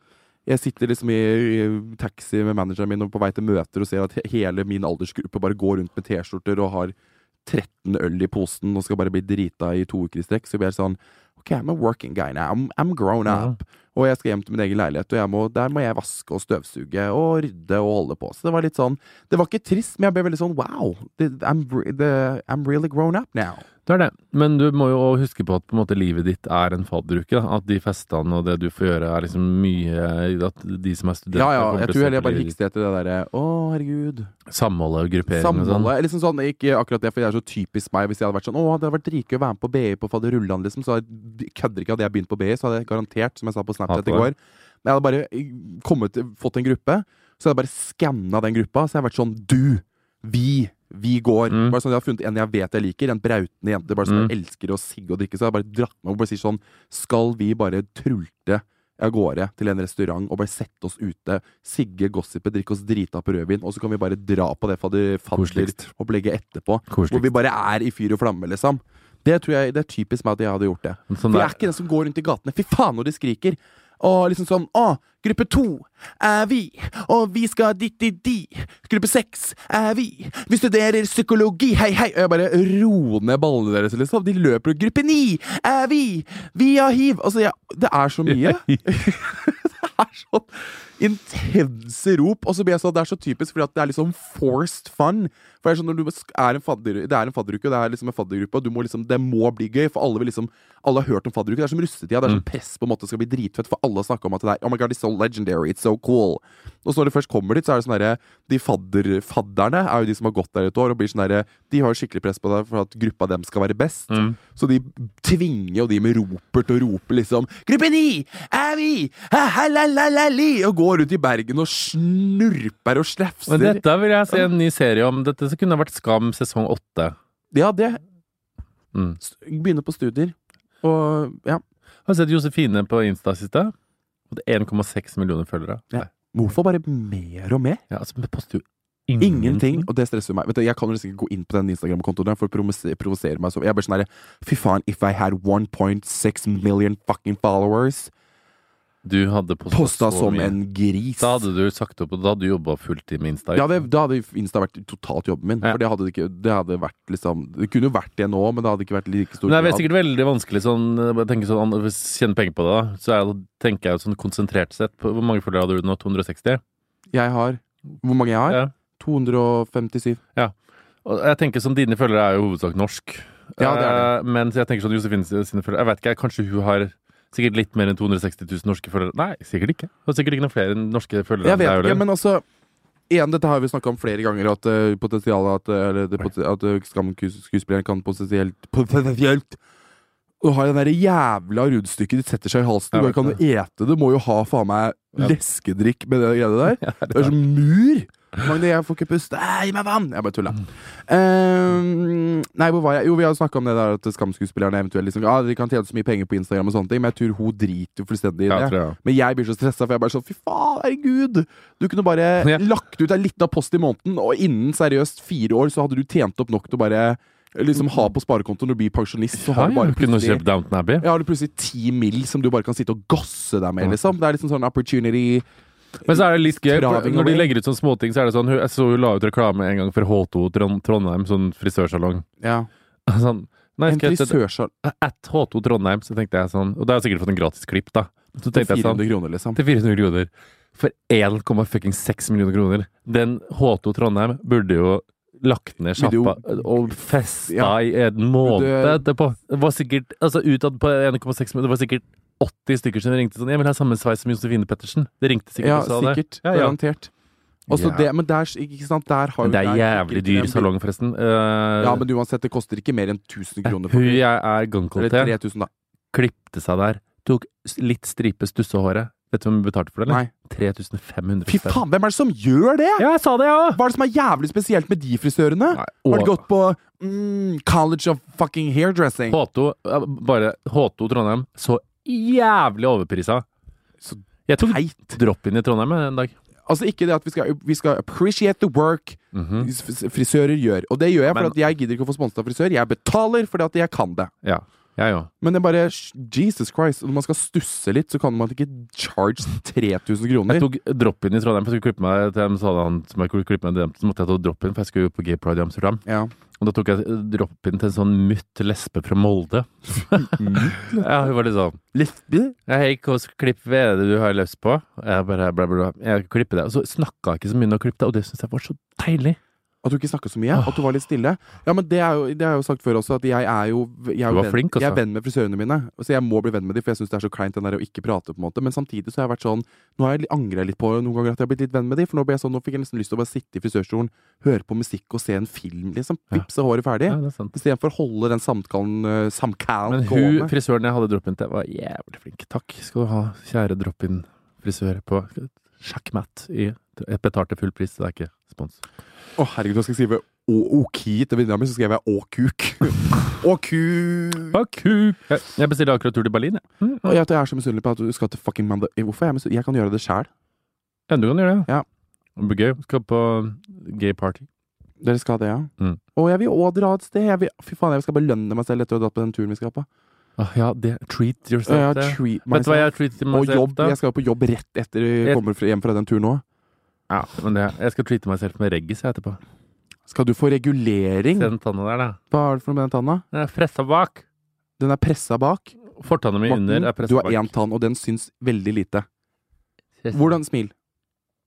S4: jeg sitter liksom i i taxi med manageren min og på vei til møter og ser at he- hele min aldersgruppe bare går rundt med T-skjorter og har 13 øl i posen og skal bare bli drita i to uker i strekk. Så jeg blir helt sånn OK, I'm a working guy now. I'm, I'm grown up. Og jeg skal hjem til min egen leilighet, og jeg må, der må jeg vaske og støvsuge og rydde og holde på. Så det var litt sånn Det var ikke trist, men jeg ble veldig sånn wow. det- I'm, re- the, I'm really grown up now.
S3: Det er det. Men du må jo også huske på at på en måte, livet ditt er en fadderuke. da. At de festene og det du får gjøre, er liksom mye At de som er studenter
S4: Ja, ja.
S3: kommer
S4: Jeg
S3: til å
S4: tror heller jeg bare
S3: bli
S4: hikste etter det derre Å, herregud.
S3: Samholdet og gruppering og sånn.
S4: Samholdet. Liksom sånn, ikke akkurat det, for det er så typisk meg. Hvis jeg hadde vært sånn Å, det hadde vært dritgøy å være med på BI på fadderullan, liksom. Så jeg kødder ikke. Hadde jeg begynt på BI, så hadde jeg garantert, som jeg sa på Snapchat
S3: Hater
S4: i går Men Jeg hadde bare kommet, fått en gruppe, så hadde jeg bare skanna den gruppa. Så jeg hadde vært sånn Du! Vi! Vi går.
S3: Mm.
S4: Bare sånn, Jeg har funnet en jeg vet jeg liker, en brautende jente bare som
S3: Mm.
S4: jeg elsker å sigge og drikke. Så jeg hadde bare dratt meg opp og bare sier sånn Skal vi bare trulte av gårde til en restaurant og bare sette oss ute, sigge, gossipe, drikke oss drita på rødvin, og så kan vi bare dra på det fadder-
S3: Koseligst.
S4: fadderopplegget etterpå? Hvor
S3: Koselig.
S4: vi bare er i fyr og flamme, liksom. Det tror jeg, det er typisk meg at jeg hadde gjort det.
S3: Sånn
S4: For jeg
S3: der.
S4: er ikke den som går rundt i gatene. Fy faen, når de skriker! Og liksom sånn Å, gruppe to er vi, og vi skal dit, dit, di. Gruppe seks er vi. Vi studerer psykologi, hei, hei. Og jeg bare roer ned ballene deres, liksom. De løper. og Gruppe ni er vi! Vi har hiv! Altså, jeg, det er så mye. Det er sånn intense rop. Og så blir jeg sånn, det er så typisk, fordi at det er liksom forced fun. For det er sånn, når du er en fadder, Det er en fadderuke, og det er liksom en faddergruppe, og du må liksom, det må bli gøy. For alle vil liksom Alle har hørt om fadderuke. Det er som russetida. Det er sånn press på en måte skal bli dritfett, for alle har snakka om at det er Oh my god, it's so legendary. It's so cool. Og så når du først kommer dit, så er det sånn derre De fadder, fadderne er jo de som har gått der et år, og blir sånn derre De har jo skikkelig press på deg for at gruppa dem skal være best. Så de tvinger jo de med ropert og roper liksom 'Gruppe ni! Er vi! Ha-ha-la-la-la-li!' Og går rundt i Bergen og snurper og slefser.
S3: Men dette vil jeg se en ny serie om. Dette altså, kunne det vært Skam sesong åtte.
S4: Ja, det.
S3: Mm.
S4: S- Begynne på studier. Og ja.
S3: Har du sett Josefine på Insta siste? Hun hadde 1,6 millioner følgere.
S4: Ja.
S3: Nei.
S4: Hvorfor bare mer og mer?
S3: Ja, altså, men poster jo
S4: Ingenting. Og det stresser meg. Vet du, jeg kan jo nesten ikke gå inn på den Instagram-kontoen der for å promose- provosere meg. Så jeg blir sånn der, Fy faen, if I had 1.6 million fucking followers
S3: Du hadde posta,
S4: Posta
S3: så
S4: som
S3: mye.
S4: en gris!
S3: Da hadde du sagt opp, og da hadde du jobba fulltid med Insta.
S4: Ja, det, da hadde Insta vært totalt jobben min.
S3: Ja.
S4: For det hadde det ikke Det hadde vært liksom Det kunne jo vært det nå, men det hadde ikke vært like stor
S3: Men det er
S4: grad.
S3: sikkert veldig vanskelig sånn, jeg tenker sånn an- Hvis jeg tjener penger på det, da, så er, det- tenker jeg jo sånn konsentrert sett på Hvor mange følgere hadde du nå? 260?
S4: Jeg har Hvor mange jeg har?
S3: Ja.
S4: 257.
S3: Og jeg tenker sånn, Dine følgere er jo hovedsak norsk.
S4: Ja, det er
S3: Eh, Men jeg tenker sånn Josefine sine følgere Jeg vet ikke, kanskje hun har sikkert litt mer enn 260 000 norske følgere? Nei, sikkert ikke. Hun har sikkert ikke noen flere enn norske følgere.
S4: Jeg
S3: enn deg,
S4: vet ikke,
S3: eller?
S4: men altså Igjen, dette har vi snakka om flere ganger, at eh, potensialet at, eh, eller det, pot- at eh, Skam-skuespilleren kan potensielt Potensielt! Å ha det der jævla rundstykket ditt setter seg i halsen.
S3: Jeg
S4: Du
S3: vet
S4: kan jo ete det. Må jo ha faen meg
S3: Ja.
S4: leskedrikk med det greiene der. Det er som mur! Magne, jeg får ikke puste. Æ, Gi meg vann! Jeg bare tulla. Ehm, nei, hvor var jeg? Jo, vi har snakka om det der at Skam-skuespillerne eventuelt liksom, ah, de kan tjene så mye penger på Instagram og sånne ting, men jeg tror hun driter jo fullstendig i det.
S3: ja, tror jeg. ja.
S4: Men jeg blir så stressa, for jeg er bare sånn Fy faen, herregud! Du kunne bare
S3: Ja.
S4: lagt ut en liten post i måneden, og innen seriøst fire år så hadde du tjent opp nok til å bare liksom ha på sparekontoen og bli pensjonist. Så har
S3: Ja,
S4: du
S3: ja,
S4: bare
S3: hun kunne
S4: plutselig
S3: kjøpt Downton Abbey.
S4: ja, har du plutselig ti mill. som du bare kan sitte og gasse deg med,
S3: Ja.
S4: liksom. Det er liksom sånn opportunity
S3: Men så er det litt gøy, for
S4: Traving
S3: når de
S4: away.
S3: legger ut sånne småting, så er det sånn hun- Jeg så hun la ut reklame en gang for H2 Trond- Trondheim, sånn frisørsalong.
S4: Ja.
S3: Sånn, nei,
S4: En
S3: skal jeg sette-
S4: frisørsal
S3: At H2 Trondheim, så tenkte jeg sånn Og da har jeg sikkert fått en gratis klipp, da. Så
S4: til
S3: tenkte jeg sånn
S4: 400 kroner, liksom.
S3: til 400 kroner for 1,6 millioner kroner. Den H2 Trondheim burde jo lagt ned
S4: Burde jo-
S3: sjappa og festa
S4: Ja.
S3: i en måned
S4: Burde-
S3: etterpå. Det var sikkert altså utad på 1,6 millioner, det var sikkert 80 stykker som ringte sånn Jeg vil ha samme sveis som Josefine Pettersen. Det ringte sikkert
S4: Ja,
S3: og sa det.
S4: sikkert.
S3: Ja, ja.
S4: Garantert. Og så
S3: Ja.
S4: det, men der, ikke sant, der har
S3: Men det er
S4: der-
S3: jævlig dyr salong, forresten. Eh,
S4: Ja, men uansett, det koster ikke mer enn 1000 kroner.
S3: hun jeg er
S4: Eller
S3: gangkål til,
S4: 3000, da.
S3: klipte seg der, tok s- litt stripe stussehåret. Vet du hvem hun betalte for det? eller?
S4: Nei.
S3: 3500
S4: Fy faen, hvem er det som gjør det?!
S3: Ja, jeg sa det, jeg òg!
S4: Hva er det som er jævlig spesielt med de frisørene? Har de gått på mm, College of fucking hairdressing?
S3: H2, eh, bare H2 Trondheim, så jævlig overprisa.
S4: Så
S3: Jeg tok
S4: Teit.
S3: drop-in i Trondheim jeg, en dag.
S4: Altså ikke det at vi skal, vi skal appreciate the work
S3: Mhm.
S4: fris- frisører gjør. Og det gjør jeg
S3: Men-
S4: fordi at jeg gidder ikke å få sponset av frisør. Jeg betaler fordi at jeg kan det.
S3: Ja, jeg òg.
S4: Men det er bare sh- Jesus Christ. Når man skal stusse litt, så kan man ikke charge 3000
S3: Jeg
S4: kroner.
S3: tok drop-in i Trondheim, for jeg skulle klippe meg til dem, sa han som jeg skulle klippe meg til dem, så måtte jeg ta drop-in, for jeg skulle jo på Gay Pride i Amsterdam.
S4: Ja.
S3: Og da tok jeg eh, drop-in til en sånn mutt lesbe fra Molde. ja, hun var litt sånn Ja, hei, hvordan klipp hva er det du har lyst på? Og Jeg bare bla, bla, bla. Jeg klipper det. Og så snakka jeg ikke så mye når jeg klippet det, og det syns jeg var så deilig.
S4: At du ikke snakka så mye? At du var litt stille? Ja, men det er jo, det har jeg jo sagt før også, at jeg er jo, jeg er
S3: Du
S4: jo
S3: var
S4: venn,
S3: flink, altså.
S4: jeg er venn med frisørene mine. Så jeg må bli venn med dem, for jeg syns det er så kleint den der å ikke prate, på en måte. Men samtidig så har jeg vært sånn Nå har jeg angrer litt på noen ganger at jeg har blitt litt venn med dem, for nå ble jeg sånn, nå fikk jeg nesten lyst til å bare sitte i frisørstolen, høre på musikk og se en film, liksom.
S3: Ja.
S4: Vippse håret ferdig.
S3: Ja, det er sant.
S4: Istedenfor å holde den samtalen, eh, samtalen
S3: Men hun,
S4: gående.
S3: frisøren jeg hadde drop-in til, var jævlig flink. Takk skal du ha, kjære drop-in-frisør på Sjakkmatt. i- Jeg betalte full pris, det er ikke spons.
S4: Å, herregud, nå skal jeg skrive å- OK til venninna mi, så skrev jeg Å-kuk. Å-kuk.
S3: Baku! Jeg- Jeg bestilte akkurat tur til Berlin, jeg. Mm.
S4: Og jeg, jeg er så misunnelig på at du skal til fucking Manda... Hvorfor er jeg misunnelig? Jeg kan gjøre det sjæl.
S3: Ja, du kan gjøre det.
S4: Ja.
S3: Det blir gøy. Skal på gay party.
S4: Dere skal det, ja?
S3: Mm.
S4: Og jeg vil òg dra et sted. Jeg vil, fy faen, jeg skal belønne meg selv etter å ha dratt på den turen vi skal på.
S3: Åh, Ah, ja, det Treat
S4: Og jeg
S3: yourself.
S4: har
S3: det.
S4: treat
S3: Vet du hva
S4: myself.
S3: jeg treater meg
S4: Og
S3: selv
S4: jobb.
S3: da?
S4: Jeg skal jo på jobb rett etter
S3: Jeg-
S4: jeg kommer fra- hjem fra den turen òg.
S3: Ja, men det, jeg skal treate meg selv med reggis jeg, etterpå.
S4: Skal du få regulering?
S3: Se den tanna der, da.
S4: Hva er det for noe med den tanna?
S3: Den er pressa bak.
S4: Den er pressa bak.
S3: Fortanna mi under er
S4: Morten,
S3: pressa
S4: du
S3: bak.
S4: har én tann, og den syns veldig lite.
S3: Pressa-
S4: Hvordan smil?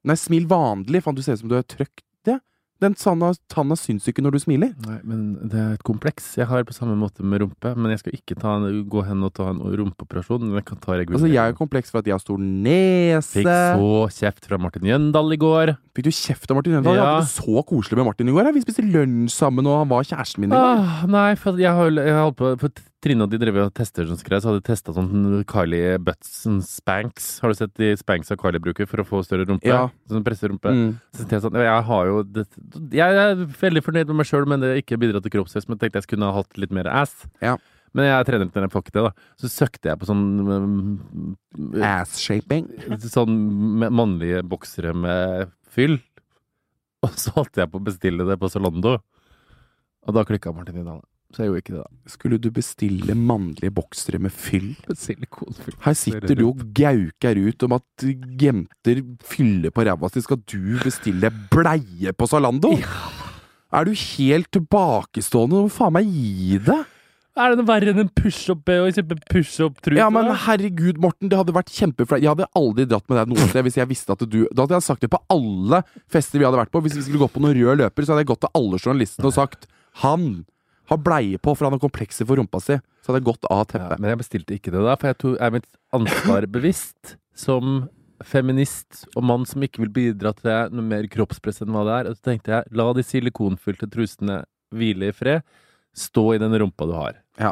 S4: Nei, smil vanlig. Faen, du ser ut som du er trøkk. Det. Den tanna, tanna syns jo ikke når du smiler.
S3: Nei, men det er et kompleks jeg har på samme måte med rumpe. Men jeg skal ikke ta en, gå hen og ta en rumpeoperasjon. Men jeg kan ta regulering.
S4: Altså, Jeg er jo kompleks for at jeg har stor nese.
S3: Fikk så kjeft fra Martin Jøndal i går.
S4: Fikk du kjeft av Martin Jøndal? Jeg
S3: Ja.
S4: hadde det så koselig med Martin i går. ja. Vi spiste lunsj sammen, og han var kjæresten min i går.
S3: Ah, nei, for jeg har jeg har holdt på for Trine og de drev og tester sånn skrev, så hadde de testa sånn Kylie Butson Spanks. Har du sett de Spanks av Kylie bruker for å få større rumpe?
S4: Ja.
S3: Sånn presserumpe.
S4: Mm.
S3: Så tenkte jeg sånn, jeg har jo det, Jeg er veldig fornøyd med meg sjøl, men det har ikke bidratt til kroppsvekst. Men jeg tenkte jeg skulle ha hatt litt mer ass.
S4: Ja.
S3: Men jeg trener til den fuck det, da. Så søkte jeg på sånn mm,
S4: Ass-shaping.
S3: Sånn med mannlige boksere med fyll. Og så holdt jeg på å bestille det på Zalando. Og da klikka Martin i dag. Så jeg gjorde ikke det, da.
S4: Skulle du bestille mannlige boksere med fyll?
S3: Men Silikonfyll.
S4: Her sitter du og gauker ut om at jenter fyller på ræva si. Skal du bestille bleie på Zalando? Er du helt tilbakestående? Hva faen meg gi det?
S3: Er det noe verre enn en pushup-bh? Kjøpe pushup-truse?
S4: Ja, men herregud, Morten, det hadde vært kjempeflaut. Jeg hadde aldri dratt med deg noe sted hvis jeg visste at du Da hadde jeg sagt det på alle fester vi hadde vært på. Hvis vi skulle gått på noen rød løper, så hadde jeg gått til alle journalistene og sagt Han har bleie på, for han har komplekser for rumpa si. Så hadde jeg gått av
S3: Ja,
S4: teppet.
S3: men jeg bestilte ikke det da, for jeg tror jeg er mitt ansvar bevisst som feminist og mann som ikke vil bidra til noe mer kroppspress enn hva det er. Og så tenkte jeg, la de silikonfylte trusene hvile i fred. Stå i den rumpa du har.
S4: Ja.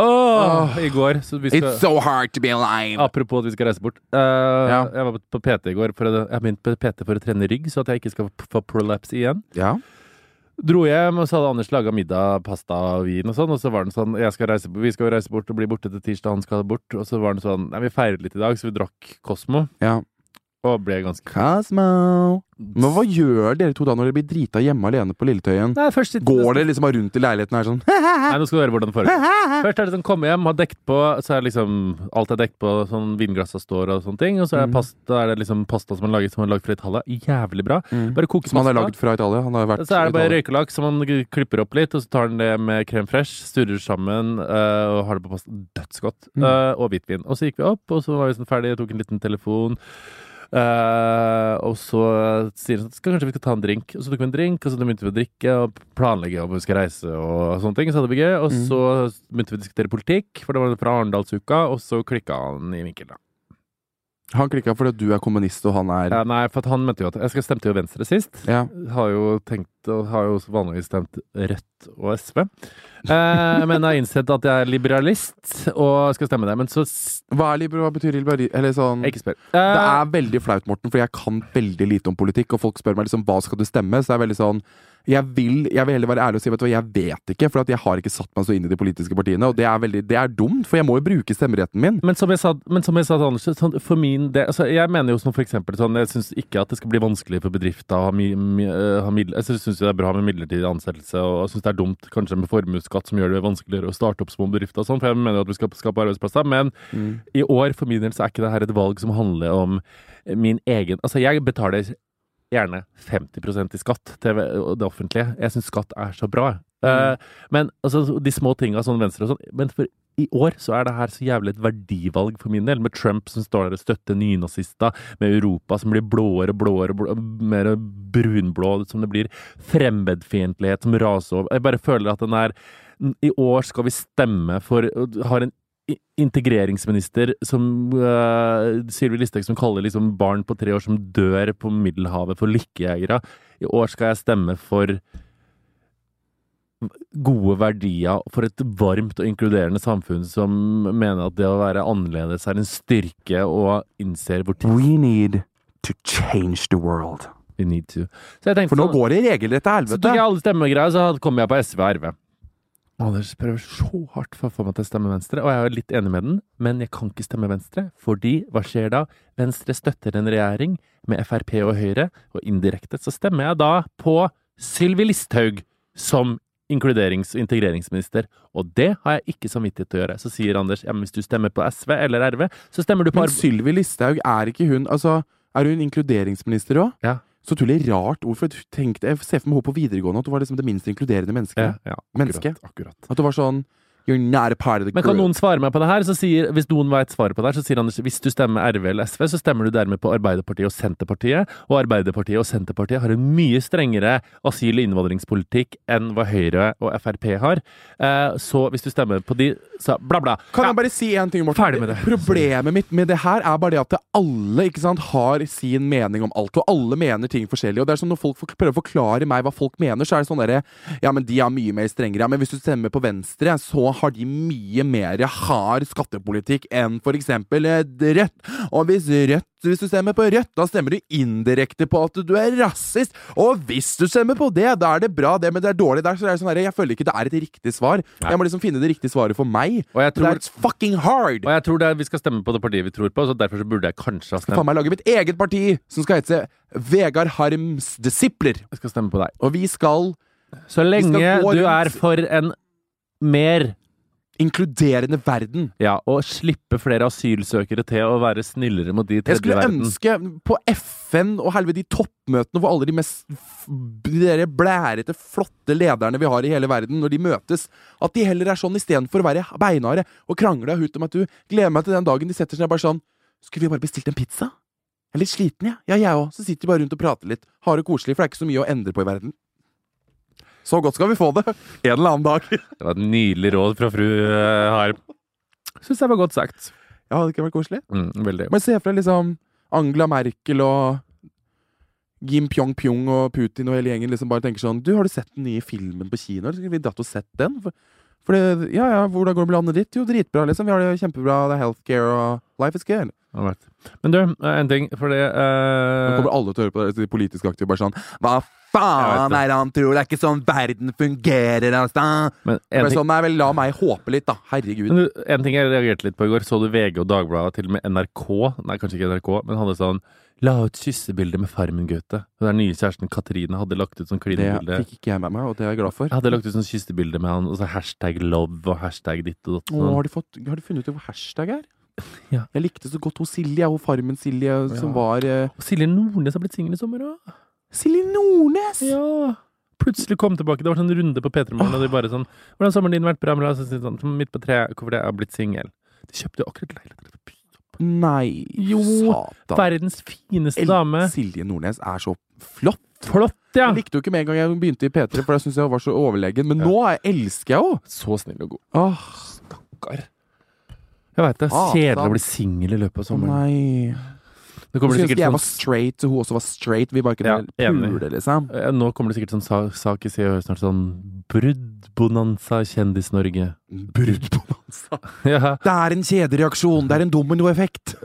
S3: Åh, I går så vi skal,
S4: It's so hard to be alive!
S3: Apropos at vi skal reise bort. Eh, Jeg var på PT i går. For å, jeg begynte på PT for å trene rygg, så at jeg ikke skal få prolaps igjen.
S4: Ja.
S3: Dro hjem, og så hadde Anders laga middag, pasta og vin og sånn. Og så var han sånn jeg skal reise, Vi skal jo reise bort og bli borte til tirsdag, han skal bort. Og så var han sånn Nei, vi feiret litt i dag, så vi drakk Cosmo.
S4: ja.
S3: Og ble ganske
S4: Cosmo. Men hva gjør dere to da når dere blir drita hjemme alene på Lilletøyen?
S3: Nei, først sitter-
S4: Går dere liksom bare rundt i leiligheten her sånn
S3: Nei, nå skal du høre hvordan det foregår. Først er det sånn komme hjem, ha dekt på, så er det liksom Alt er dekt på, sånn vinglassa står og sånne ting. Og så er,
S4: Mm.
S3: det pasta, er det liksom pasta som er laget som er lagd fra Italia. Jævlig bra. Bare koke
S4: Som han
S3: pasta.
S4: har lagd fra Italia? Han har vært
S3: Og Mm. Så er det
S4: i
S3: bare
S4: Italia.
S3: røykelaks som man klipper opp litt, og så tar den det med krem fresh, sturrer sammen eh, og har det på pasta. Dødsgodt.
S4: Mm.
S3: Eh, og hvitvin. Og så gikk vi opp, og så var vi sånn ferdige, tok en liten telefon. Eh, og så sier de sånn skal, Kanskje vi skal ta en drink. Og så tok vi en drink, og så begynte vi å drikke og planlegge om vi skal reise og sånne ting. Så hadde vi gøy. Og så begynte vi å diskutere politikk, for det var fra Arendalsuka, og så klikka han i Mikkel, da.
S4: Han klikka fordi at du er kommunist og han er
S3: Ja, Eh, nei, for at han mente jo at Jeg skal stemte jo Venstre sist.
S4: ja.
S3: har jo tenkt og har jo vanligvis stemt Rødt og SV. Eh, men har innsett at jeg er liberalist og skal stemme det. Men så s-
S4: Hva er libro, hva betyr liberal... Eller sånn
S3: Ikke spør.
S4: Det
S3: Eh,
S4: er veldig flaut, Morten, for jeg kan veldig lite om politikk, og folk spør meg liksom hva skal du stemme, så det er veldig sånn jeg vil, jeg vil heller være ærlig og si vet du hva, jeg vet ikke, for at jeg har ikke satt meg så inn i de politiske partiene. Og det er, veldig, det er dumt, for jeg må jo bruke stemmeretten min.
S3: men som jeg sa, men som jeg sa til Anders, sånn, for min del altså, Jeg mener jo sånn for eksempel sånn, Jeg syns ikke at det skal bli vanskelig for bedrifter å ha, mi, mi, eh, ha middel, Jeg syns det er bra med midlertidig ansettelse, og jeg syns det er dumt kanskje med formuesskatt som gjør det vanskeligere å starte opp små bedrifter og sånn, for jeg mener jo at vi skal skape arbeidsplasser. Men i år for min del så er ikke det her et valg som handler om min egen Altså, jeg betaler gjerne 50 i skatt til det offentlige. Jeg syns skatt er så bra. Eh, men altså, de små tinga, sånn venstre og sånn. Men for i år så er det her så jævlig et verdivalg for min del, med Trump som står der og støtter nynazister, med Europa som blir blåere og blåere, og blå- mer brunblå, som det blir fremmedfiendtlighet som raser over. Jeg bare føler at den er I år skal vi stemme for øh, Har en i- integreringsminister som uh, Sylvi Listhaug som kaller liksom barn på tre år som dør på Middelhavet for lykkejegere. I år skal jeg stemme for gode verdier for et varmt og inkluderende samfunn som mener at det å være annerledes er en styrke og innser hvor tid
S4: We need to change the world.
S3: vi need to. Så jeg tenkte
S4: For nå
S3: sånn-
S4: går det i regelrett til
S3: Så tok
S4: helvete.
S3: jeg alle stemmegreier, så hadde- kom jeg på SV og RV. Anders prøver så hardt for å få meg til å stemme Venstre, og jeg er jo litt enig med den, men jeg kan ikke stemme Venstre, fordi hva skjer da? Venstre støtter en regjering med Frp og Høyre, og indirekte så stemmer jeg da på Sylvi Listhaug som inkluderings- og integreringsminister, og det har jeg ikke samvittighet til å gjøre. Så sier Anders, ja, men hvis du stemmer på SV eller RV, så stemmer du på
S4: Men
S3: Arv...
S4: Sylvi Listhaug er ikke hun Altså, er hun inkluderingsminister òg?
S3: Ja.
S4: Så utrolig rart ord, for jeg tenkte, jeg ser for meg henne på videregående at hun var liksom det minst inkluderende
S3: Ja,
S4: mennesket.
S3: ja,
S4: Menneske.
S3: akkurat, akkurat.
S4: At hun var sånn You're not a part of the
S3: Men kan
S4: group."
S3: noen svare meg på det her? Så sier, hvis noen vet svaret på det her, så sier Anders hvis du stemmer RV eller SV, så stemmer du dermed på Arbeiderpartiet og Senterpartiet. Og Arbeiderpartiet og Senterpartiet har en mye strengere asyl- og innvandringspolitikk enn hva Høyre og Frp har. Eh, så hvis du stemmer på de, så bla, bla.
S4: Kan
S3: Ja.
S4: jeg bare si en ting, Morten?
S3: Ferdig med det.
S4: Problemet mitt med det her er bare det at det alle ikke sant, har sin mening om alt, og alle mener ting forskjellig. Og det er sånn Når folk fork- prøver å forklare meg hva folk mener, så er det sånn derre Ja, men de er mye mer strengere. Ja, men hvis du stemmer på Venstre, så har de mye mer hard skattepolitikk enn for eksempel et Rødt. Og hvis Rødt hvis du stemmer på Rødt, da stemmer du indirekte på at du er rasist. Og hvis du stemmer på det, da er det bra, det, men det er dårlig der. Så det er sånn her, jeg føler ikke det er et riktig svar. Jeg må liksom finne det riktige svaret for meg.
S3: Og jeg tror,
S4: That's fucking hard!
S3: og jeg tror det er, vi skal stemme på det partiet vi tror på, så derfor så burde jeg kanskje ha
S4: Faen
S3: stemt.
S4: meg lage mitt eget parti som skal hete Vegard Harms Disipler.
S3: Jeg skal stemme på deg.
S4: Og vi skal
S3: Så lenge
S4: gå
S3: du
S4: rundt-
S3: er for en mer
S4: inkluderende verden.
S3: Ja, og slippe flere asylsøkere til å være snillere mot de i
S4: Jeg
S3: tredje
S4: skulle
S3: verden.
S4: ønske på FN og helvete de toppmøtene hvor alle de mest f- de der blærete, flotte lederne vi har i hele verden, når de møtes, at de heller er sånn istedenfor å være beinharde og krangle og hute om at du gleder meg til den dagen de setter seg ned bare sånn Skulle vi bare bestilt en pizza? Jeg er litt sliten, jeg. Ja, jeg òg. Så sitter vi bare rundt og prater litt. Har det koselig, for det er ikke så mye å endre på i verden. Så godt skal vi få det. En eller annen dag.
S3: Det var et nydelig råd fra fru eh, Harm. Syns jeg var godt sagt.
S4: Ja, hadde det ikke vært koselig?
S3: Mm, veldig.
S4: Men se for deg liksom Angela Merkel og Jim Pyong-pyong og Putin og hele gjengen liksom bare tenker sånn Du, har du sett den nye filmen på kino? Eller skulle vi dratt og sett den? For, for det, ja, ja, hvordan går det med landet ditt? Jo, dritbra, liksom. Vi har det kjempebra. Det er healthcare og life is good.
S3: Alright. Men du, eh, en ting, for det
S4: Nå
S3: eh,
S4: kommer alle til å høre på det, de politisk aktive bare sånn Hva faen
S3: Jeg vet det.
S4: er det han tror? Det er ikke sånn verden fungerer, altså!
S3: men en,
S4: Bare
S3: ting,
S4: sånn, nei vel, la meg håpe litt, da. Herregud.
S3: men du, en ting jeg reagerte litt på i går, så du VG og Dagbladet, til og med NRK Nei, kanskje ikke NRK, men hadde sånn La ut kyssebilde med Farmen-Gaute. Og Den nye kjæresten Katrine hadde lagt ut sånn
S4: Det
S3: klinebilde.
S4: fikk ikke jeg med meg, og det er jeg glad for.
S3: Jeg hadde lagt ut sånn kyssebilde med han, og så hashtag love og hashtag ditt og datt.
S4: Å, har, du fått, har du funnet ut hva hashtag er?
S3: Sånn. Ja.
S4: Jeg likte så godt hun Silje, hun farmen Silje, som var eh,
S3: Og Silje Nordnes har blitt singel i sommer òg.
S4: Silje Nordnes!
S3: Ja. Plutselig kom tilbake. Det var sånn runde på P3 Morgen, og de bare sånn 'Hvordan har sommeren din vært bra?' Men så sier de sånn, midt på treet, hvorfor det er blitt singel. De kjøpte jo akkurat leilighet.
S4: Nei,
S3: Jo,
S4: satan.
S3: Verdens fineste
S4: El-
S3: dame.
S4: Silje Nordnes er så flott.
S3: Flott, ja!
S4: Jeg likte jo ikke med en gang jeg begynte i P3, for jeg syntes jeg var så overlegen. Men nå er- elsker jeg henne!
S3: Så snill og god.
S4: Åh,
S3: Jeg veit det. er
S4: Ah,
S3: Kjedelig
S4: sant.
S3: å bli singel i løpet av sommeren.
S4: nei.
S3: Nå
S4: Jeg
S3: kommer det
S4: skulle ønske
S3: sikkert
S4: jeg
S3: sånn
S4: var straight, og hun også var straight. Vi bare kunne
S3: Ja, enig.
S4: pule, liksom.
S3: Eh, nå kommer det sikkert sånn sa- sak i Se og Hør snart, sånn bruddbonanza i Kjendis-Norge.
S4: Brudd på mansa.
S3: Ja,
S4: Det er en kjedereaksjon! Det er en dominoeffekt!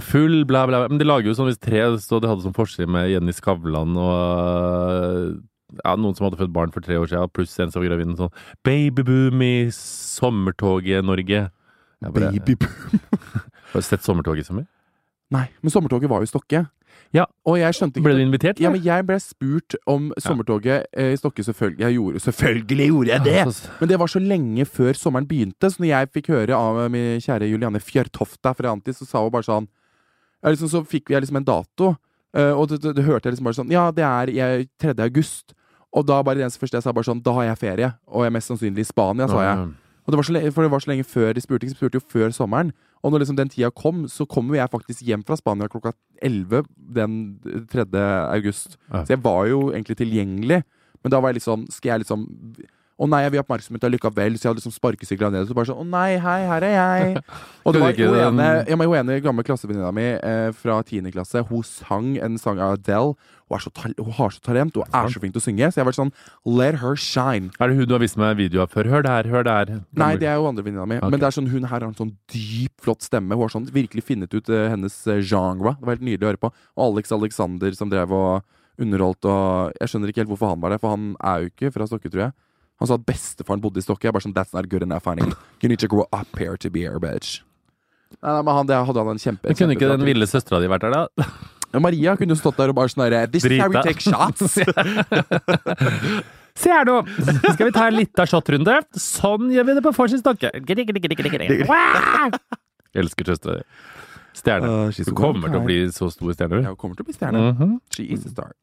S3: full bla, bla, bla. Men de lager jo sånn hvis tre så de hadde sånn forside med Jenny Skavlan og ja, noen som hadde født barn for tre år siden, pluss en som var gravid. en Sånn babyboom i sommertoget Norge. Jeg bare,
S4: Baby
S3: Har du sett sommertoget i sommer?
S4: Nei, men sommertoget var jo i Stokke.
S3: Ja.
S4: Og jeg skjønte ikke
S3: Ble du invitert?
S4: Ja, men jeg ble spurt om sommertoget eh, i Stokke. Selvfølgelig, jeg gjorde, selvfølgelig gjorde jeg det!
S3: Altså,
S4: Men det var så lenge før sommeren begynte, så når jeg fikk høre av eh, min kjære Julianne Fjørtofta fra Antis, så sa hun bare sånn ja, liksom, Så fikk jeg liksom en dato, eh, og det, det, det hørte jeg liksom bare sånn Ja, det er jeg, 3. august. Og da bare det eneste første jeg sa, bare sånn Da har jeg ferie, og jeg er mest sannsynlig i Spania, sa jeg. Og det var så lenge, for det var så lenge før de spurte, de spurte jo før sommeren. Og når liksom den tida kom, så kom jo jeg faktisk hjem fra Spania klokka 11 den 3. august.
S3: Ja.
S4: Så jeg var jo egentlig tilgjengelig, men da var jeg litt sånn Skal jeg liksom Å nei, jeg vil ha oppmerksomhet allikevel, så jeg hadde liksom sparkesykla ned. Så bare sånn Å nei, hei, her er jeg. Og det var
S3: Skulle
S4: jo
S3: du ikke
S4: ene,
S3: den-
S4: ja, men hun ene gamle klassevenninna mi eh, fra 10. klasse, hun sang en sang av Adele. Hun, er så tal hun har så talent, hun er så flink til å synge, så jeg har vært sånn Let her shine.
S3: Er det hun du har vist meg video av før? Hør det her, hør det her.
S4: Nei, det er jo andre venninna mi.
S3: Ok.
S4: Men det er sånn, hun her har en sånn dyp, flott stemme. Hun har sånn virkelig funnet ut eh, hennes eh, genre. Det var helt nydelig å høre på. Og Alex Alexander som drev og underholdt og Jeg skjønner ikke helt hvorfor han var der, for han er jo ikke fra Stokke, tror jeg. Han sa at bestefaren bodde i Stokke. Jeg er bare sånn That's not good enough, honey. You need to grow up here to be here, bitch. Nei, nei, men han, det hadde han en kjempe...
S3: Men kunne ikke den
S4: kjempe-
S3: ville søstera di vært der, da?
S4: Ja, Maria kunne jo stått der og bare sånn derre This is how we
S3: Drita.
S4: take shots.
S3: Se her nå! Skal vi ta en lita shotrunde? Sånn gjør vi det på Forsins Stokke. Elsker søstera di. Stjerne.
S4: Uh, she's
S3: Du
S4: a
S3: kommer til å
S4: wildcard.
S3: bli så stor stjerne.
S4: Ja,
S3: du.
S4: hun kommer til å bli stjerne.
S3: Mhm.
S4: She is a star.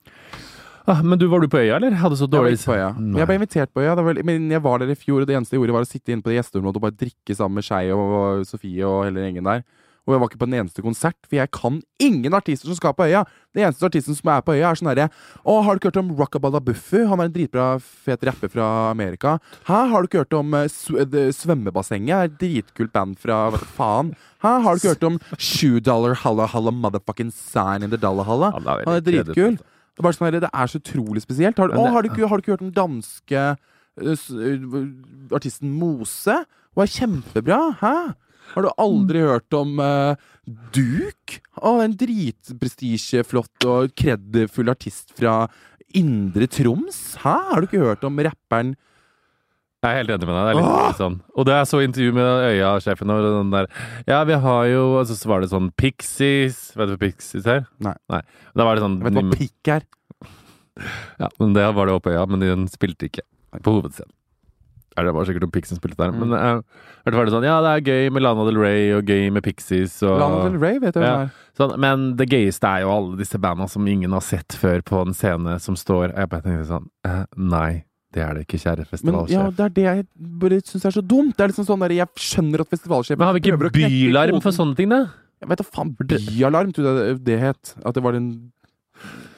S3: ah, men du, var du på øya, eller? Hadde så dårlig
S4: Jeg var ikke på øya. Men Jeg ble invitert på øya, det var vel- men jeg var der i fjor, og det eneste jeg gjorde, var å sitte inne på det gjesteområdet og bare drikke sammen med Skei og Sofie og hele gjengen der. Og jeg var ikke på den eneste konsert, for jeg kan ingen artister som skal på øya. Den eneste artisten som er på øya, er sånn herre Å, har du ikke hørt om Rockaballa Buffy? Han er en dritbra, fet rapper fra Amerika. Hæ, har du ikke hørt om eh, sw eh, The Svømmebassenget? Et Dritkult band fra hva faen. Hæ, har du ikke hørt om Shoe Dollar Halla Halla Motherfucking Sign in the Dollar Halla?
S3: Ja, det er veldig
S4: Han er
S3: kjedelig, altså.
S4: dritkul. Det er, bare sånn, her, det er så utrolig spesielt. Har, du-
S3: Men
S4: å,
S3: det-
S4: har, du ikke, har du ikke hørt den danske eh, s- eh, artisten Mose var kjempebra. Hæ? Har du aldri hørt om eh, Duk? Å, en dritprestisjeflott og kredfull artist fra Indre Troms? Hæ? Har du ikke hørt om rapperen
S3: Jeg er helt enig med deg. Det er litt litt sånn. Og det er så intervju med Øya-sjefen og den der Ja, vi har jo Og så var det sånn Pixies. Vet du hva Pixies er?
S4: Nei.
S3: Da var det sånn
S4: Jeg vet hva pikk er.
S3: Ja, men det var det oppe i øya, men den spilte ikke på hovedscenen. Eller det var sikkert noen Pixies som spilte der, men
S4: Mm.
S3: eh, i hvert fall var det sånn Ja, det er gøy med Lana Del Rey og gøy med Pixies og
S4: Lana Del Rey, vet du hvem
S3: Ja.
S4: det er.
S3: sånn, Men det gøyeste er jo alle disse banda som ingen har sett før på en scene som står Jeg bare tenkte sånn eh, Nei, det er det ikke, kjære
S4: Men ja,
S3: festivalsjef.
S4: det er det jeg bare syns er så dumt. Det er liksom sånn der, Jeg skjønner at festivalsjefen
S3: Men har vi
S4: prøver
S3: ikke
S4: å knekke
S3: bylarm
S4: koden.
S3: for sånne ting, da?
S4: Jeg vet da faen. Byalarm, tror jeg det- det het. At det var en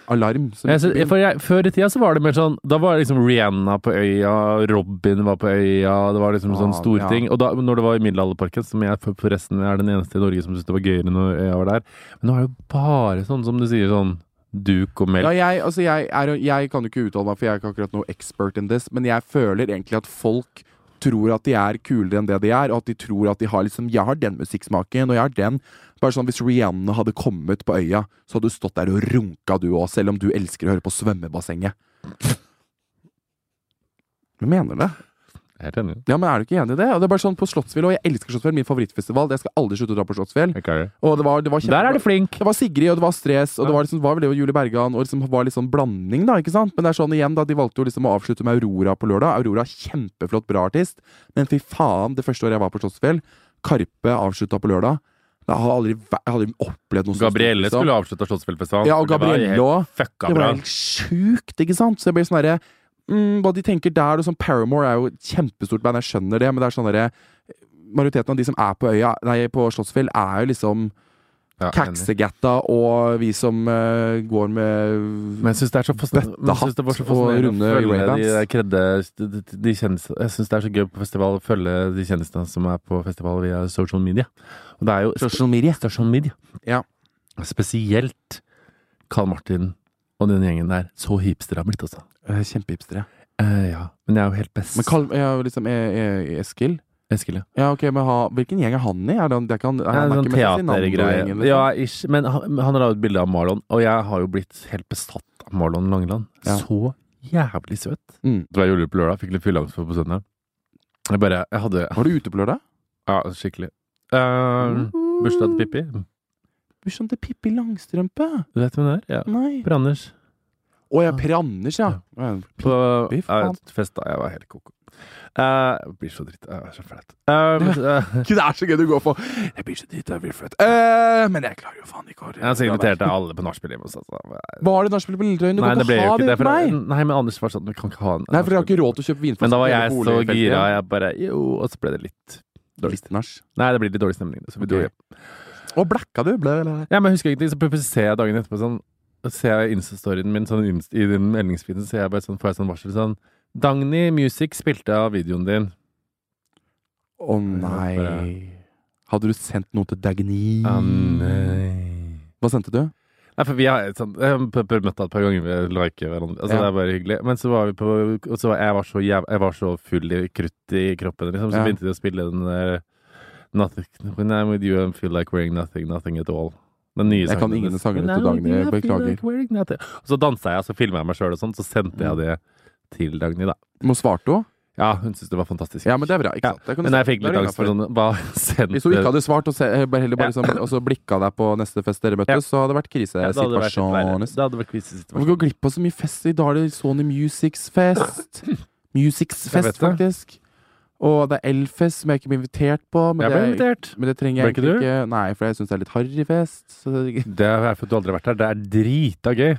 S4: alarm som
S3: Jeg synes, for jeg, før i tida så var det mer sånn Da var det liksom Rihanna på øya, Robin var på øya Det var liksom sånn
S4: Ah,
S3: store
S4: ja.
S3: ting. Og da når det var i Middelalderparken, som jeg for- forresten er den eneste i Norge som syntes det var gøyere når øya var der Men nå er det jo bare sånn som du sier, sånn duk og melk.
S4: Ja, jeg, altså jeg, er, jo- jeg kan jo ikke uttale meg, for jeg er ikke akkurat noe expert in this, men jeg føler egentlig at folk tror at de er kulere enn det de er, og at de tror at de har liksom Jeg har den musikksmaken, og jeg har den. Bare sånn Hvis Rihanna hadde kommet på øya, så hadde du stått der og runka du òg, selv om du elsker å høre på svømmebassenget. Jeg mener det.
S3: Jeg er Helt enig.
S4: Ja, men Er du ikke enig i det? Og det er bare sånn på Slottsfjell, og Jeg elsker Slottsfjell, min favorittfestival. Jeg skal aldri slutte å dra på Slottsfjell.
S3: Ikke er det.
S4: Og det var, det var kjempe-
S3: Der er du flink!
S4: det var Sigrid, og det var Stress, og det var liksom, var vel det og Julie Bergan, og liksom var litt sånn blanding, da, ikke sant? Men det er sånn igjen, da, de valgte jo liksom å avslutte med Aurora på lørdag. Aurora, kjempeflott, bra artist, men fy faen, det første året jeg var på Slottsfjell, Karpe avslutta på lørdag. Jeg har aldri, væ- jeg har aldri opplevd noe
S3: Gabrielle
S4: stort, liksom.
S3: skulle avslutta Slottsfjellfestivalen.
S4: Ja, og Gabrielle òg.
S3: Fucka
S4: Det
S3: bra.
S4: var helt sjukt, ikke sant? Så jeg blir sånn derre mm, Hva de tenker der, og sånn Paramore er jo et kjempestort band, jeg skjønner det, men det er sånn derre Majoriteten av de som er på øya, nei, på Slottsfjell, er jo liksom
S3: Ja, enig.
S4: Kaksegatta og vi som eh, går med
S3: Men jeg syns det er så fascinerende men jeg synes det var så fascinerende
S4: Bøttehatt og
S3: å
S4: runde
S3: følge de
S4: Ray-Bans.
S3: der kredde de, de, de kjendis- Jeg syns det er så gøy på festival å følge de kjendisene som er på festival via social media. Og det er jo
S4: Social media.
S3: social media.
S4: Ja.
S3: Spesielt Carl Martin og den gjengen der. Så hipster har blitt, altså.
S4: Eh, Kjempehipstere.
S3: Eh, ja. Men jeg er jo helt best.
S4: Men Carl, ja, liksom, eh, eh, Eskil
S3: Eskil, ja.
S4: Ja, ok, men ha, Hvilken gjeng er han i? Er det, han- det er ikke han, er
S3: Ja,
S4: han er
S3: sånn
S4: ikke med Cezinando-gjengen,
S3: teatergreie.
S4: liksom?
S3: Ja, ish. Men han, han la ut bilde av Marlon, og jeg har jo blitt helt besatt av Marlon Langeland.
S4: Ja.
S3: Så jævlig søt.
S4: Mm.
S3: Det var julebord på lørdag, fikk litt fylleangst på på søndag. Jeg bare Jeg hadde
S4: Var du ute på lørdag?
S3: Ja, skikkelig. Uh, bursdag til Pippi.
S4: Bursdagen til Pippi Langstrømpe?
S3: Du vet hvem det er? Ja.
S4: Nei.
S3: Per Anders.
S4: Å ja, Per Anders, ja. ja.
S3: På
S4: Pippi, faen.
S3: ja, fest, da. Jeg var helt koko. Eh, jeg blir så dritt. Jeg er så flaut. Eh, men, eh,
S4: Gud, Det er så gøy du går for! Jeg blir så dritt, jeg blir født. Eh, men jeg klarer jo faen ikke å
S3: jeg har så invitert deg alle på nachspiel hjemme hos oss. altså.
S4: Var det nachspiel på Lilletrøyen? Du
S3: Nei,
S4: kan
S3: det ble jo
S4: ikke ha
S3: ikke
S4: det
S3: det.
S4: uten
S3: For,
S4: meg!
S3: nei, men Anders var sånn Vi kan ikke ha en
S4: Nei, for dere har ikke råd til å kjøpe vinflasker.
S3: Men da var
S4: til
S3: jeg
S4: hele
S3: så
S4: boligfeltet
S3: gira,
S4: igjen.
S3: jeg bare Jo, og så ble det litt dårlig.
S4: Litt nach.
S3: Nei, det blir litt dårlig stemning. Så vi dro
S4: Ok.
S3: hjem.
S4: Og blacka du? Ble, ble.
S3: Ja, men jeg husker ingenting, så plutselig ser jeg dagen etterpå sånn så Ser jeg Insta-storyen min sånn, inst- i den meldingsfeeden, så ser jeg bare sånn, får jeg sånn varsel sånn Dagny Music spilte av videoen din.
S4: Å nei. Hadde du sendt noe til Dagny?
S3: Ah, nei.
S4: Hva sendte du?
S3: Nei, for vi har sånn Jeg har p- p- møtt deg et par ganger, vi liker hverandre. Altså,
S4: Ja.
S3: Det er bare hyggelig. Men så var vi på Og så var jeg var så, jæv, jeg var så full i krutt i kroppen, liksom. Så
S4: Ja.
S3: begynte de å spille den der eh, Nothing When I'm with you, I feel like wearing nothing, nothing at all. Den nye
S4: Jeg kan
S3: sangen
S4: ingen
S3: hennes.
S4: sanger
S3: When
S4: til
S3: I'm with
S4: Dagny,
S3: you, I feel
S4: beklager. Mm.
S3: like wearing nothing. Og så dansa jeg, og så filma jeg meg sjøl og sånn. Så sendte jeg det til Dagny, da.
S4: Må svarte hun?
S3: Ja, hun syntes det var fantastisk.
S4: Ja, men det er bra.
S3: Ja.
S4: ikke sant? Det kan du
S3: Men jeg
S4: si.
S3: fikk
S4: Da er
S3: litt
S4: du
S3: angst for
S4: innenfor.
S3: sånn Hva sendte
S4: Hvis hun ikke hadde svart, og, se, bare heller bare
S3: Ja.
S4: sånn, og så blikka deg på neste fest
S3: Ja.
S4: dere møttes, så hadde det vært
S3: Ja, det hadde vært litt verre.
S4: krisesituasjoner.
S3: Det hadde vært krisesituasjon.
S4: Hvorfor går glipp av så mye fest? I dag er det Sony Musics fest. Musics
S3: Jeg vet
S4: fest,
S3: det.
S4: faktisk. Og det er Elfest, som jeg ikke ble invitert på. Men,
S3: Jeg ble
S4: det,
S3: invitert.
S4: men det trenger jeg
S3: Ble ikke
S4: egentlig ikke. Nei, for jeg syns det er litt harry fest. Så det,
S3: Det er for at du aldri har vært der. Det er drita gøy.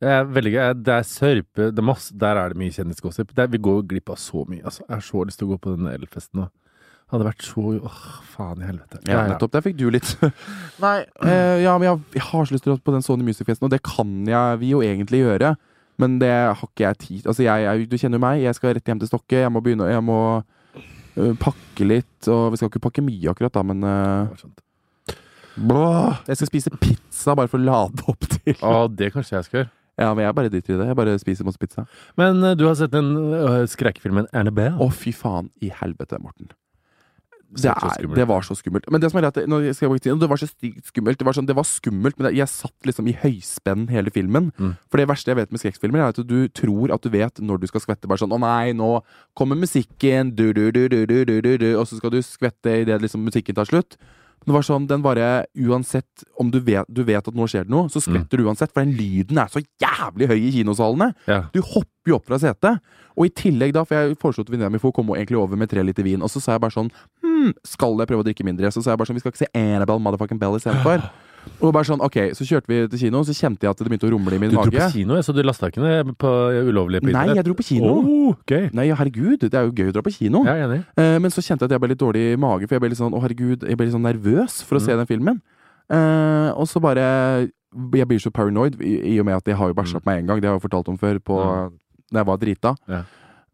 S3: Det er veldig gøy. Det er sørpe det er masse, Der er det mye kjendisgossip. Det er- Vi går jo glipp av så mye. Altså. Jeg har så lyst til å gå på den elfesten nå. Det hadde vært så Åh, faen i helvete.
S4: Ja,
S3: Nei,
S4: nettopp. Der fikk du litt. Nei, eh, ja, men jeg, jeg har så lyst til å dra på den Sony Music-festen, og det kan jeg, vi jo egentlig gjøre. Men det har ikke jeg tid Altså, jeg, jeg, Du kjenner jo meg, jeg skal rett hjem til Stokke. Jeg må begynne Jeg må eh, pakke litt. Og vi skal ikke pakke mye akkurat, da, men
S3: det
S4: eh,
S3: var sånt.
S4: blah. Jeg skal spise pizza bare for å lade opp til.
S3: Å, det kanskje jeg skal gjøre.
S4: Ja, men jeg bare driter i det. Jeg bare spiser masse pizza.
S3: Men eh, du har sett den eh, skrekkfilmen Annabelle?
S4: Å, fy faen i helvete, Morten. Det,
S3: Så
S4: er,
S3: skummelt.
S4: det var så skummelt. Men det som er greit, nå skal jeg bare si, det var så stygt skummelt. Det var, sånn, det var skummelt, men det- jeg satt liksom i høyspenn hele filmen.
S3: Mm.
S4: For det verste jeg vet med skrekkfilmer, er at du tror at du vet når du skal skvette. Bare sånn 'Å nei, nå kommer musikken', du, du, du, du, du, du, du, du, og så skal du skvette idet liksom musikken tar slutt. Det var sånn, den bare, Uansett om du vet, du vet at nå skjer det noe, så skvetter
S3: Mm.
S4: du uansett. For den lyden er så jævlig høy i kinosalene.
S3: Ja.
S4: Du hopper jo opp fra setet. Og i tillegg, da, for jeg foreslo til venninna mi for hun kom egentlig over med tre liter vin, og så sa jeg bare sånn Hm, skal jeg prøve å drikke mindre? Så sa jeg bare sånn Vi skal ikke se Annabelle Motherfucking Bell istedenfor. Og bare sånn, ok, Så kjørte vi til kino, så kjente jeg at det begynte å rumle i min
S3: Du dro på
S4: mage.
S3: kino, jeg, så du lasta ikke ned på ulovlig på
S4: Nei, jeg
S3: internett?
S4: dro på kino.
S3: Åh, gøy.
S4: Nei, herregud, det er jo gøy å dra på kino.
S3: Jeg er enig.
S4: Eh, men så kjente jeg at jeg ble litt dårlig i mage, for jeg ble litt sånn, å herregud, jeg ble litt sånn nervøs
S3: Mm.
S4: for å se den filmen. Eh, og så bare Jeg blir så paranoid, i, i og med at jeg har jo bæsja på meg én gang. Det har jeg jo fortalt om før, på, da jeg var drita.
S3: Mm. Ja.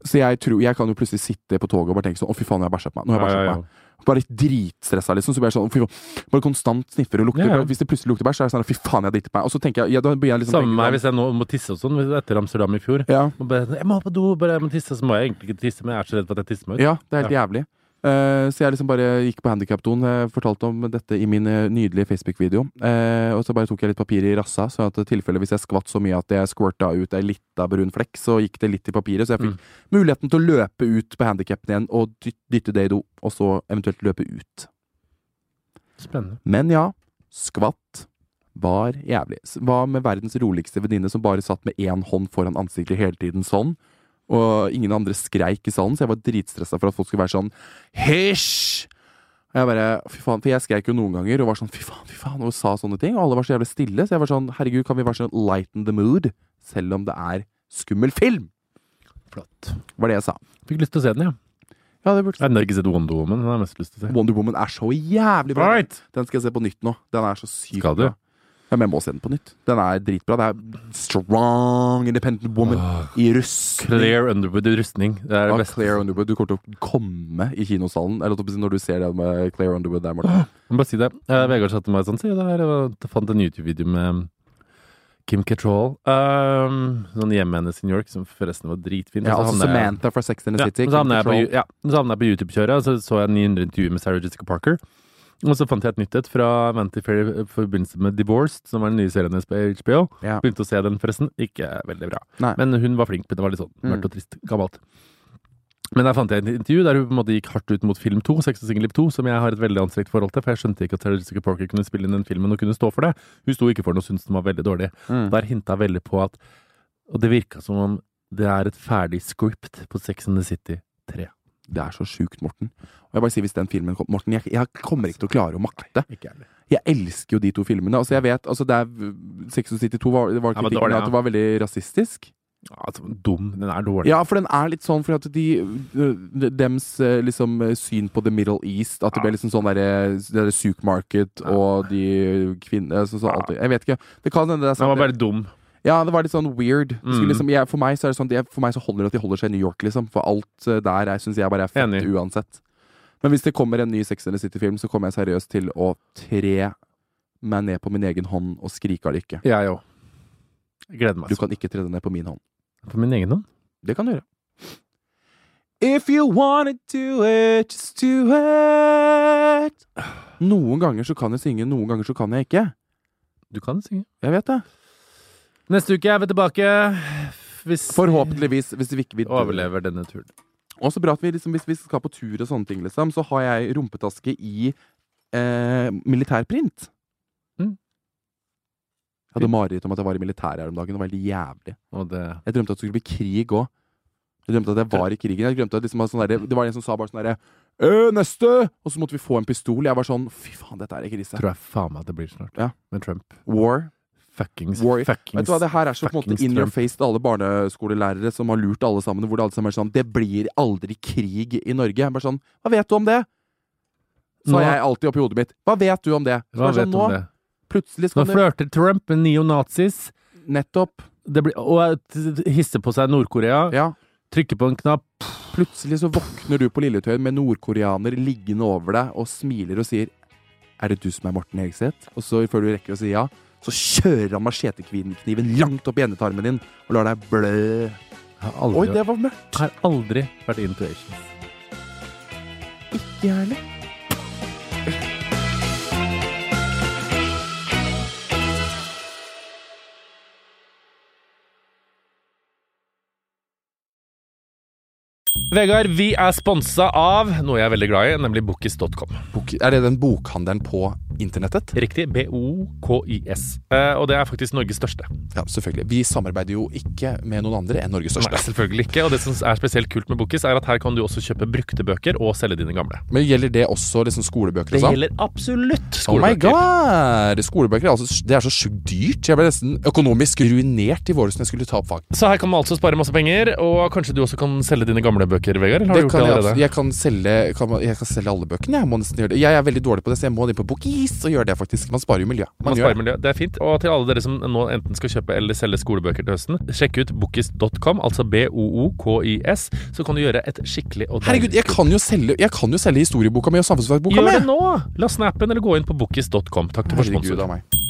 S4: Så jeg, tror, jeg kan jo plutselig sitte på toget og bare tenke sånn Å, fy faen, jeg har bæsja på meg. Nå har jeg sånn, bæsja på meg bare dritstressa, liksom. Så blir jeg sånn, fy faen, bare konstant sniffer og lukter.
S3: Ja, ja.
S4: Hvis det plutselig lukter bæsj, så er det sånn fy faen, jeg driter på meg. Og så tenker jeg, ja, da begynner jeg liksom
S3: Samme med meg
S4: tenke
S3: hvis jeg nå må tisse og sånn etter Amsterdam i fjor.
S4: sånn, ja,
S3: Og bare, jeg må på do, bare jeg må tisse, så må jeg egentlig ikke tisse, men jeg er så redd for at jeg tisser meg ut.
S4: ja, det er helt jævlig. Eh, så jeg liksom bare gikk på handikapdoen, eh, fortalte om dette i min eh, nydelige Facebook-video. Eh, og så bare tok jeg litt papir i rassa, så at i tilfelle hvis jeg skvatt så mye at jeg squirta ut ei lita brun flekk, så gikk det litt i papiret. Så jeg fikk muligheten til å løpe ut på handikapten igjen og dy- dytte det i do, og så eventuelt løpe ut.
S3: Spennende.
S4: Men ja, skvatt var jævlig. S- Hva med verdens roligste venninne som bare satt med én hånd foran ansiktet hele tiden sånn? Og ingen andre skreik i salen, så jeg var dritstressa for at folk skulle være sånn Hysj! Og jeg bare, fy faen, For jeg skreik jo noen ganger og var sånn fy faen, fy faen, og sa sånne ting. Og alle var så jævlig stille, så jeg var sånn herregud, kan vi være sånn lighten the mood? Selv om det er skummel film,
S3: Flott.
S4: var det jeg sa.
S3: Fikk lyst til å se den, ja.
S4: Ja, det burde
S3: Jeg har ennå ikke sett Wonder Woman, men jeg har mest lyst til å se.
S4: Wonder Woman er så jævlig bra.
S3: Right.
S4: Den skal jeg se på nytt nå. Den er så sykt
S3: Skal du?
S4: bra. Ja, men jeg må se den på nytt. Den er dritbra. Det er strong, independent woman i russ.
S3: Ah, Claire Underwood i rustning. Det er
S4: Ja,
S3: det beste.
S4: Claire Underwood. Du kommer til å komme i kinosalen Eller holdt jeg på å si, når du ser det med Claire Underwood der, Morten.
S3: Jeg må Bare si det. Eh, Vegard sa til meg sånn, se det her, og jeg fant en YouTube-video med Kim Cattrall. Um, sånn hjemme hennes i New York, som forresten var dritfin.
S4: Ja,
S3: Og så
S4: altså
S3: havnet jeg-
S4: Samantha fra Sex and the
S3: Ja,
S4: City.
S3: men så havnet jeg på,
S4: Control.
S3: Ju- ja, men så havnet jeg på YouTube-kjøret, og så så jeg 900 intervjuer med Sarah Jessica Parker. Og så fant jeg et nytt et fra Vanity Fair i forbindelse med Divorced, som var den nye serien hennes på HBO.
S4: Ja.
S3: Begynte å se den, forresten. Ikke veldig bra.
S4: Nei.
S3: Men hun var flink, men det var litt sånn
S4: Mm.
S3: mørkt og trist. Gammelt. Men der fant jeg et intervju der hun på en måte gikk hardt ut mot film 2, Sex og singelliv 2, som jeg har et veldig anstrengt forhold til, for jeg skjønte ikke at Sarah Jessica Parker kunne spille inn den filmen og kunne stå for det. Hun sto ikke for den og syntes den var veldig dårlig.
S4: Mm.
S3: Der hinta jeg veldig på at Og det virka som om det er et ferdig script på Sex and the City 3.
S4: Det er så sjukt, Morten. Og jeg bare sier hvis den filmen kom, Morten, jeg, jeg kommer ikke til å klare å makte.
S3: Ikke ærlig.
S4: Jeg elsker jo de to filmene. Altså, jeg vet altså, det er, Sex and the City 2 var, det var
S3: Ja, men
S4: kritikken
S3: dårlig, ja.
S4: at det var veldig rasistisk.
S3: Altså, dum. Den er dårlig.
S4: Ja, for den er litt sånn fordi at de, de dems eh, liksom eh, syn på The Middle East At det ble liksom sånn derre der supermarket og de kvinner sånn, sånn, alltid. Jeg vet ikke. Det kan hende det er
S3: Den var
S4: sant.
S3: bare dum.
S4: Ja, det var litt sånn weird. Det skulle
S3: Mm.
S4: Liksom, jeg, for meg så er det sånn jeg, For meg så holder det at de holder seg i New York, liksom. For alt eh, der er- syns jeg bare er fett
S3: Enig.
S4: uansett. Men hvis det kommer en ny Sex and the City-film, så kommer jeg seriøst til å tre meg ned på min egen hånd og skrike av lykke.
S3: Jeg òg. Gleder meg.
S4: Du kan ikke tre deg ned på min hånd.
S3: På min egen hånd.
S4: Det kan du gjøre. If you wanna do it, just do it. Noen ganger så kan jeg synge, noen ganger så kan jeg ikke.
S3: Du kan synge.
S4: Jeg vet det.
S3: Neste uke er vi tilbake. Hvis
S4: Forhåpentligvis, hvis vi ikke vil
S3: vi overlever denne turen.
S4: Og så bra at vi liksom, hvis vi skal på tur og sånne ting, liksom, så har jeg rumpetaske i eh, militærprint.
S3: Mm.
S4: Jeg hadde mareritt om at jeg var i militæret her om dagen. Det var helt jævlig.
S3: Og det
S4: Jeg drømte at det skulle bli krig òg. Jeg drømte at jeg var i krigen. Jeg drømte at liksom, at sånn derre- Det var en som sa bare sånn derre «Øh, Neste! Og så måtte vi få en pistol. Jeg var sånn Fy faen, dette er ikke krise.
S3: tror jeg faen meg at det blir snart.
S4: Ja.
S3: Med Trump.
S4: War.
S3: Fuckings,
S4: War- Vet
S3: fuckings
S4: du hva, det her er så på en måte
S3: fuckings
S4: in your
S3: Trump.
S4: face til alle barneskolelærere som har lurt alle sammen, hvor det alle sammen er sånn Det blir aldri krig i Norge. Jeg er bare sånn Hva vet du om det?
S3: Nå-
S4: Sa jeg alltid oppi hodet mitt. Hva vet du om det? Så
S3: Hva
S4: bare
S3: vet
S4: sånn,
S3: du om det?
S4: Plutselig
S3: Nå
S4: skal du
S3: flørter Trump med neonazis.
S4: Nettopp.
S3: Det blir, og hisser på seg Nord-Korea.
S4: Ja.
S3: Trykker på en knapp.
S4: Plutselig så våkner du på Lilletøyen med nordkoreaner liggende over deg og smiler og sier Er det du som er Morten Hegseth? Og så før du rekker å si ja,
S8: så kjører han machetekniven langt opp i endetarmen din og lar deg blø.
S9: Jeg har
S8: Oi,
S9: aldri,
S8: det var mørkt.
S9: har aldri vært intuition.
S8: Ikke jeg heller.
S3: Vegard, vi er sponsa av noe jeg er veldig glad i, nemlig bokis.com.
S4: Bok, er det den bokhandelen på internettet?
S3: Riktig. B-O-K-I-S. Eh, og det er faktisk Norges største.
S4: Ja, selvfølgelig. Vi samarbeider jo ikke med noen andre enn Norges
S3: Nei,
S4: største.
S3: selvfølgelig ikke. Og det som er spesielt kult med Bokis, er at her kan du også kjøpe brukte bøker og selge dine gamle.
S4: Men gjelder det også liksom skolebøker og sånn?
S3: gjelder absolutt
S4: Oh my
S3: skolebøker.
S4: god! Skolebøker er, altså, det er så sjukt dyrt. Jeg ble nesten økonomisk ruinert i vår som jeg skulle ta opp fag.
S3: så her kan man altså spare masse penger, og kanskje du også kan selge dine gamle bøker, Vegard? Eller har
S4: Det
S3: du gjort
S4: kan
S3: det
S4: jeg,
S3: allerede?
S4: absolutt- jeg, kan selge, kan, man- jeg kan selge alle bøkene. Jeg må nesten gjøre det Jeg er veldig dårlig på det, så jeg må inn på Bokis og gjøre det, faktisk. Man sparer jo miljø. Man
S3: Man
S4: gjør
S3: sparer
S4: det.
S3: miljø. Det er fint. Og til alle dere som nå enten skal kjøpe eller selge skolebøker til høsten, sjekk ut bokis.com, altså B-O-O-K-I-S, så kan du gjøre et skikkelig og
S4: Herregud, jeg kan jo selge, jeg kan jo selge historieboka mi og samfunnsfagboka mi!
S3: Gjør det nå! La snappen eller gå inn på bokis.com. Takk til vår
S4: Herregud
S3: sponsor.
S4: av meg.